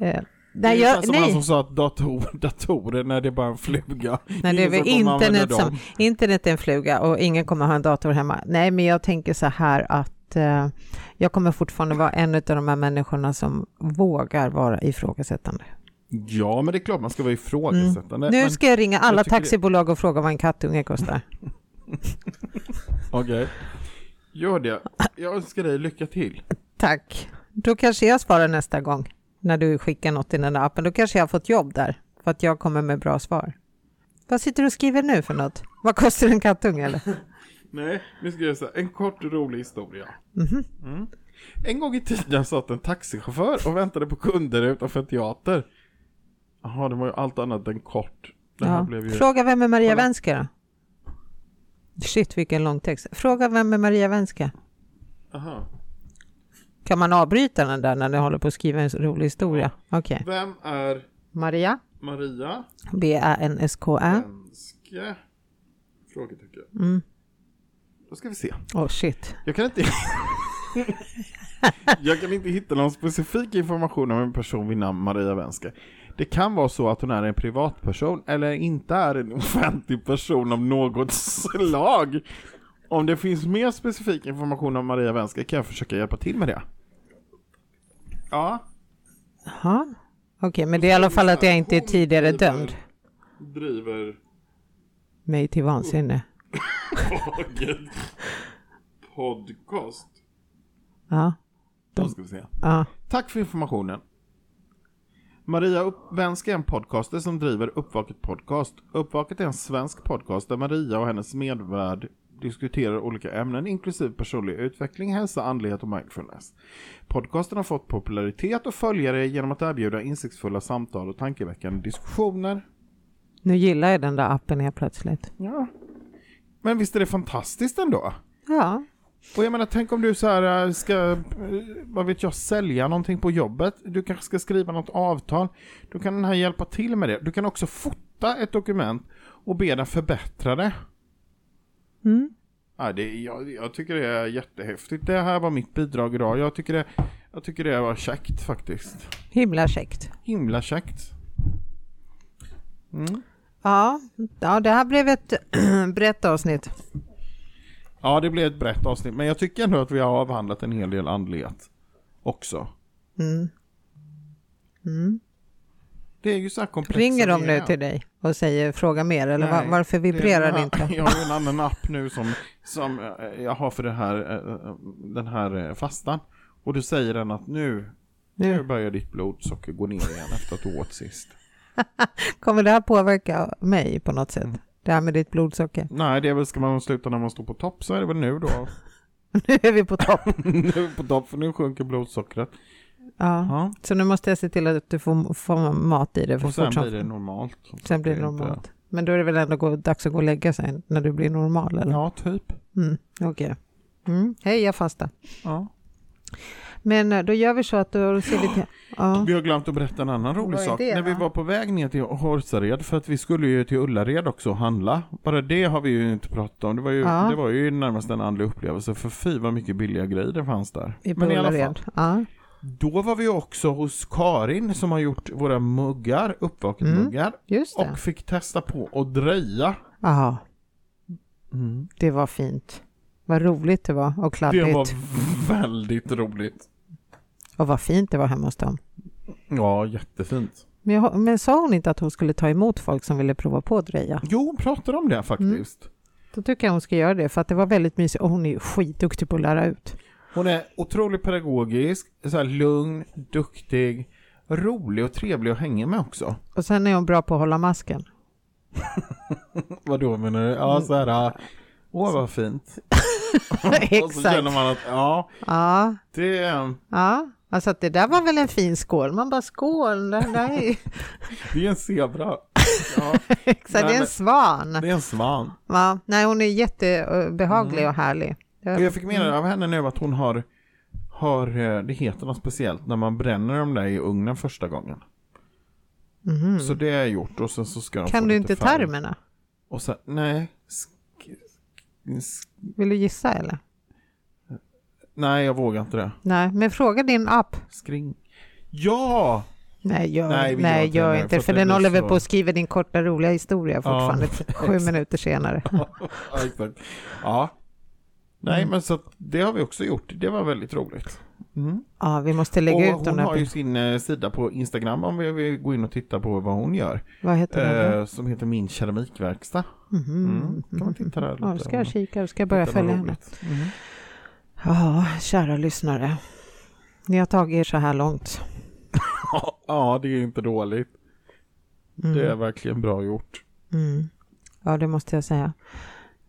S3: Eh,
S2: det är
S3: nej,
S2: ungefär
S3: jag,
S2: som han som
S3: nej.
S2: sa att dator, datorer när det är bara en fluga.
S3: Nej, det är väl
S2: ingen som kommer använda
S3: internet
S2: dem.
S3: som... Internet är en fluga och ingen kommer ha en dator hemma. Nej, men jag tänker så här att att eh, jag kommer fortfarande vara en av de här människorna som vågar vara ifrågasättande.
S2: Ja, men det är klart man ska vara ifrågasättande.
S3: Mm. Nu
S2: men-
S3: ska jag ringa alla
S2: jag tycker det-
S3: taxibolag och fråga vad en kattunge kostar.
S2: Okej. Gör det. Jag önskar dig lycka till.
S3: Tack. Då kanske jag svarar nästa gång när du skickar något i den där appen. Då kanske jag har fått jobb där för att jag kommer med bra svar. Vad sitter du och skriver nu för något? Vad kostar en kattunge eller?
S2: Nej, nu ska jag säga en kort och rolig historia.
S3: Mhm.
S2: Mm. En gång i tiden satt en taxichaufför och väntade på kunder utanför en teater. Jaha, det var ju allt annat än kort. Det här
S3: Ja.
S2: blev ju...
S3: Fråga vem är Maria
S2: Kolla.
S3: Wenska då? Shit vilken lång text. Fråga vem är Maria Wenska?
S2: Aha.
S3: Kan man avbryta den där när du håller på att skriva en rolig historia? Okej.
S2: Vem är
S3: Maria?
S2: Maria?
S3: B-A-N-S-K-A?
S2: Svenske? Frågetecken.
S3: Mm.
S2: Då ska vi se.
S3: Åh shit.
S2: Jag kan inte... jag kan inte hitta någon specifik information om en person vid namn Maria Wenske. Det kan vara så att hon är en privatperson eller inte är en offentlig person av något slag. Om det finns mer specifik information om Maria Wenske kan jag försöka hjälpa till med det. Ja.
S3: Jaha. Okej, men det är i alla fall att jag inte är
S2: Hon
S3: tidigare
S2: driver-
S3: dömd.
S2: Driver
S3: Mig till vansinne.
S2: egen podcast.
S3: Ja.
S2: Då ska vi se.
S3: ja.
S2: Tack för informationen. Maria Upp- Wenske är en podcaster som driver Uppvaket Podcast. Uppvaket är en svensk podcast där Maria och hennes medvärd diskuterar olika ämnen inklusive personlig utveckling, hälsa, andlighet och mindfulness. Podcasten har fått popularitet och följare genom att erbjuda insiktsfulla samtal och tankeväckande diskussioner.
S3: Nu gillar jag den där appen helt plötsligt.
S2: Ja. Men visst är det fantastiskt ändå?
S3: Ja.
S2: Och jag menar, tänk om du så här äh, ska, äh, vad vet jag, sälja någonting på jobbet. Du kanske ska skriva något avtal. Då kan den här hjälpa till med det. Du kan också fota ett dokument och be den förbättra det.
S3: Mm.
S2: Ja, det jag, jag tycker det är jättehäftigt. Det här var mitt bidrag idag. Jag tycker det, jag tycker det var käckt faktiskt.
S3: Himla käckt.
S2: Himla käckt. Mm.
S3: Ja. ja, det här blev ett brett avsnitt.
S2: Ja, det blev ett brett avsnitt. Men jag tycker ändå att vi har avhandlat en hel del andlighet också.
S3: Mm. Mm.
S2: Det är ju så här komplext.
S3: Ringer de nu till dig och säger fråga mer eller va-
S2: Nej,
S3: varför vibrerar det
S2: är en annan-
S3: inte?
S2: Jag har ju en annan app nu som, som eh, jag har för den här, eh, den här eh, fastan. Och du säger den att nu, nu börjar ditt blodsocker gå ner igen efter att du åt sist.
S3: Kommer det här påverka mig på något sätt? Det här med ditt blodsocker.
S2: Nej, det är väl, ska man sluta när man står på topp så är det väl nu då.
S3: Nu är vi på topp.
S2: nu är vi på topp för nu sjunker blodsockret.
S3: Ja.
S2: Ja,
S3: Så nu måste jag se till att du får, får mat i det. För
S2: och sen
S3: fort som-
S2: blir det normalt.
S3: sen blir det
S2: Det är inte-
S3: normalt. Men då är det väl ändå gå- dags att gå och lägga sig när du blir normal? Eller?
S2: Ja, typ.
S3: Mm, Okej. Mm. Hej, jag fastar.
S2: Ja.
S3: Men eh, då gör vi så att då ser vi till... Ja.
S2: Vi har glömt att berätta en annan rolig
S3: Vad är
S2: sak.
S3: det
S2: När vi
S3: då?
S2: var på väg ner till Horsared, för att vi skulle ju till Ullared också och handla. Bara det har vi ju inte pratat om. Det var ju,
S3: Ja.
S2: det var ju närmast en andlig upplevelse, för fy vad mycket billiga grejer det fanns där.
S3: I
S2: Men i alla fall,
S3: Bullared. Ja.
S2: då var vi också hos Karin som har gjort våra muggar,
S3: Mm,
S2: uppvaket-muggar.
S3: Just det.
S2: och fick testa på att dreja.
S3: Ja, det var fint. Vad roligt Mm. det var och kladdigt.
S2: Det var väldigt roligt.
S3: Och vad fint det var hemma hos dem.
S2: Ja, jättefint.
S3: Men, jag, men sa hon inte att hon skulle ta emot folk som ville prova på att dreja?
S2: Jo, hon pratade om det
S3: Mm.
S2: faktiskt.
S3: Då tycker jag hon ska göra det för att det var väldigt mysigt och hon är ju skitduktig på att lära ut.
S2: Hon är otroligt pedagogisk, så här lugn, duktig, rolig och trevlig att hänga med också.
S3: Och sen är hon bra på att hålla masken.
S2: Vad då menar du? Ja, så här, åh vad fint. Och så
S3: Exakt.
S2: känner man att, ja,
S3: Ja,
S2: det är,
S3: ja. Alltså att det där var väl en fin skål. Man bara skål. Det där är,
S2: det är en zebra. Ja,
S3: exakt, det är en svan.
S2: det är en svan.
S3: Ja, nej, hon är jättebehaglig
S2: Mm.
S3: och härlig.
S2: Och jag fick med av henne nu att hon har, har, eh, det heter något speciellt när man bränner dem där i ugnen första gången.
S3: Mhm.
S2: Så det är gjort och sen så ska de få
S3: Kan du
S2: lite
S3: inte
S2: färg.
S3: termerna?
S2: Och sen, nej. Sk- sk-
S3: Vill du gissa eller?
S2: nej, jag vågar inte det.
S3: Nej, men fråga din app.
S2: Skring. Ja!
S3: Nej, gör, nej,
S2: Nej, vi gör
S3: nej,
S2: inte
S3: gör
S2: det,
S3: inte
S2: för
S3: det,
S2: att
S3: för
S2: det
S3: den
S2: blir
S3: håller väl
S2: så-
S3: på att skriva din korta roliga historia fortfarande sju minuter senare.
S2: Ja, exakt. Ja. Nej, men så att det har vi också gjort. Det var väldigt roligt. Mm.
S3: Ja, vi måste
S2: Och
S3: lägga ut de
S2: hon
S3: där.
S2: har ju sin eh, sida på Instagram om vi vill gå in och titta på vad hon gör.
S3: Vad heter den? då?
S2: Eh, som heter Min keramikverkstad.
S3: Mhm.
S2: Mm. Kan man titta där lite?
S3: Ja, då ska
S2: om-
S3: jag kika, då ska jag börja
S2: hitta något
S3: följa henne.
S2: roligt. Mm.
S3: Ja, kära lyssnare. Ni har tagit er så här långt.
S2: Ja, det är inte dåligt.
S3: Mm.
S2: Det är verkligen bra gjort.
S3: Mm. Ja, det måste jag säga.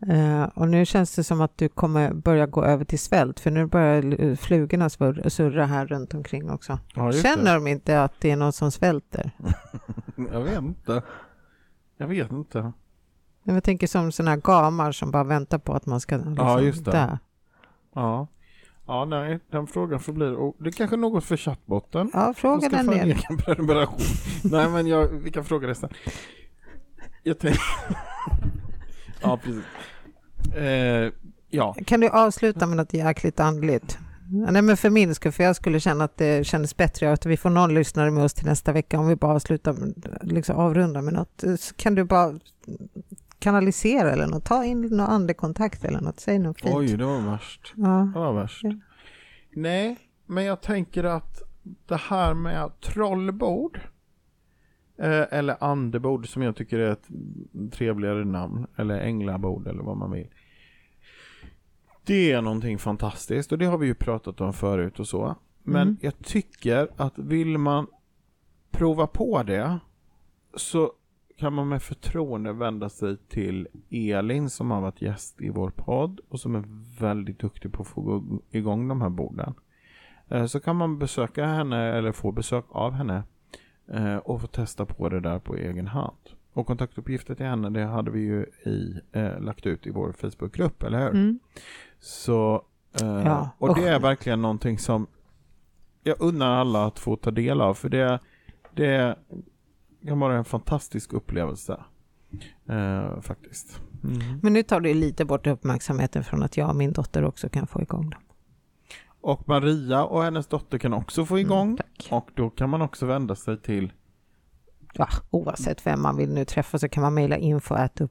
S3: Eh, och nu känns det som att du kommer börja gå över till svält, för nu börjar eh, flugorna svur- surra här runt omkring också.
S2: Ja, just det.
S3: Känner de inte att det är någon som svälter?
S2: Jag vet inte. Jag vet inte.
S3: Men Jag tänker som sådana här gamar som bara väntar på att man ska liksom,
S2: Ja, just det.
S3: dö.
S2: Ja. Ja, nej, den frågan förblir. Och det är kanske något för chattbotten.
S3: Ja, fråga
S2: Jag ska
S3: den
S2: få en
S3: ner.
S2: egen prenumeration. nej, men jag, vi kan fråga det sen. Jag tänker... ja, precis. Eh, ja.
S3: Kan du avsluta med något jäkligt andligt? Nej, men för min skull, för jag skulle känna att det kändes bättre att vi får någon lyssnare med oss till nästa vecka om vi bara avslutar, med- liksom avrundar med något. Så kan du bara kanalisera eller något, ta in någon andekontakt eller något, säg något fint.
S2: Oj, det var värst.
S3: Ja.
S2: Det var värst.
S3: Ja.
S2: Nej, men jag tänker att det här med trollbord eh, eller andebord som jag tycker är ett trevligare namn eller änglabord eller vad man vill. Det är någonting fantastiskt och det har vi ju pratat om förut och så. Men
S3: Mm.
S2: jag tycker att vill man prova på det så kan man med förtroende vända sig till Elin som har varit gäst i vår podd och som är väldigt duktig på att få igång de här borden. Eh, Så kan man besöka henne eller få besök av henne eh, och få testa på det där på egen hand. Och kontaktuppgifter till henne det hade vi ju i, eh, lagt ut i vår Facebookgrupp, eller hur?
S3: Mm.
S2: Så, eh,
S3: Ja,
S2: och det
S3: usch.
S2: är verkligen någonting som jag unnar alla att få ta del av, för det, det kan vara en fantastisk upplevelse. Eh, faktiskt. Mm.
S3: Men nu tar du lite bort uppmärksamheten från att jag och min dotter också kan få igång dem.
S2: Och Maria och hennes dotter kan också få igång.
S3: Mm, tack.
S2: Och då kan man också vända sig till
S3: Ja, oavsett vem man vill nu träffa så kan man mejla info
S2: Ja.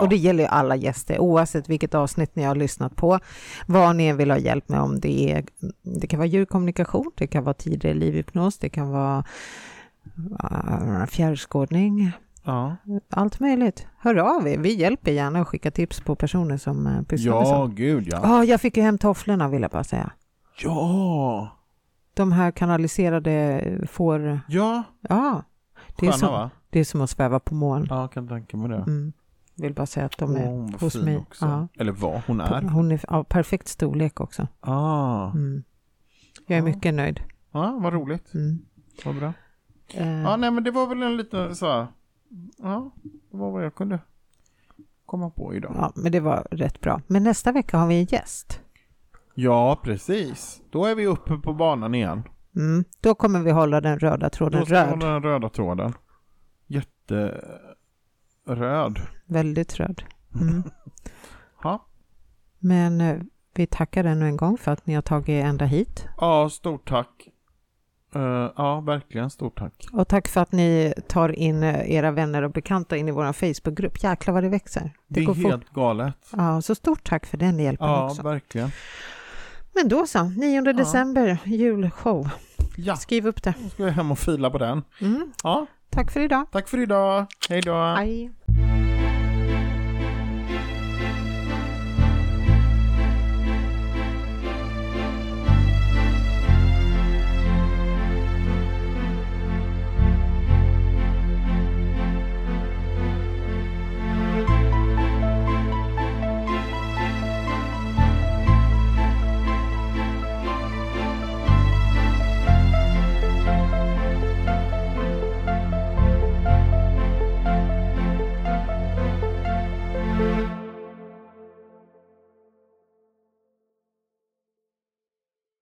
S3: Och det gäller ju alla gäster, oavsett vilket avsnitt ni har lyssnat på, vad ni än vill ha hjälp med. om Det, är, det kan vara djurkommunikation, det kan vara tidigare livhypnos, det kan vara äh, fjärrskådning,
S2: Ja,
S3: allt möjligt. Hör av er, vi hjälper gärna och skickar tips på personer som äh, pysslar med
S2: ja
S3: sånt.
S2: gud ja.
S3: Ja, jag fick ju hem tofflorna vill jag bara säga.
S2: Ja,
S3: De här kanaliserade får...
S2: ja.
S3: Ja, det är,
S2: Sköna
S3: som,
S2: va?
S3: det är som att sväva på moln.
S2: Ja, jag kan tänka mig det.
S3: Mm. Vill bara säga att de
S2: Åh,
S3: är
S2: hon var
S3: hos
S2: fin
S3: mig.
S2: också.
S3: Ja. Mm.
S2: Eller vad hon är.
S3: Hon är av perfekt storlek också.
S2: Ah.
S3: Mm. Jag är
S2: Ja.
S3: mycket nöjd.
S2: Ja, vad roligt.
S3: Mm.
S2: Vad bra.
S3: Eh,
S2: Ja, nej men det var väl en liten så här. Ja, det var vad jag kunde komma på idag.
S3: ja, men det var rätt bra. Men nästa vecka har vi en gäst.
S2: Ja, precis. Då är vi uppe på banan igen.
S3: Mm. Då kommer vi hålla den röda tråden
S2: Då ska vi
S3: röd.
S2: hålla den röda tråden. Jätteröd.
S3: Väldigt röd. Mm.
S2: Ja.
S3: Men eh, vi tackar ännu en gång för att ni har tagit er ända hit.
S2: ja, stort tack. Eh, ja, verkligen stort tack.
S3: Och tack för att ni tar in eh, era vänner och bekanta in i vår Facebookgrupp. Jäklar vad det växer.
S2: Det är
S3: går fort.
S2: helt galet.
S3: Ja, så stort tack för den hjälpen
S2: Ja,
S3: också.
S2: verkligen.
S3: Men då så, 9 december, julshow.
S2: Ja,
S3: Skriv upp det.
S2: nu ska jag hem och fila på den.
S3: Mm.
S2: Ja,
S3: Tack för idag.
S2: tack för idag. Hej då.
S3: Hej.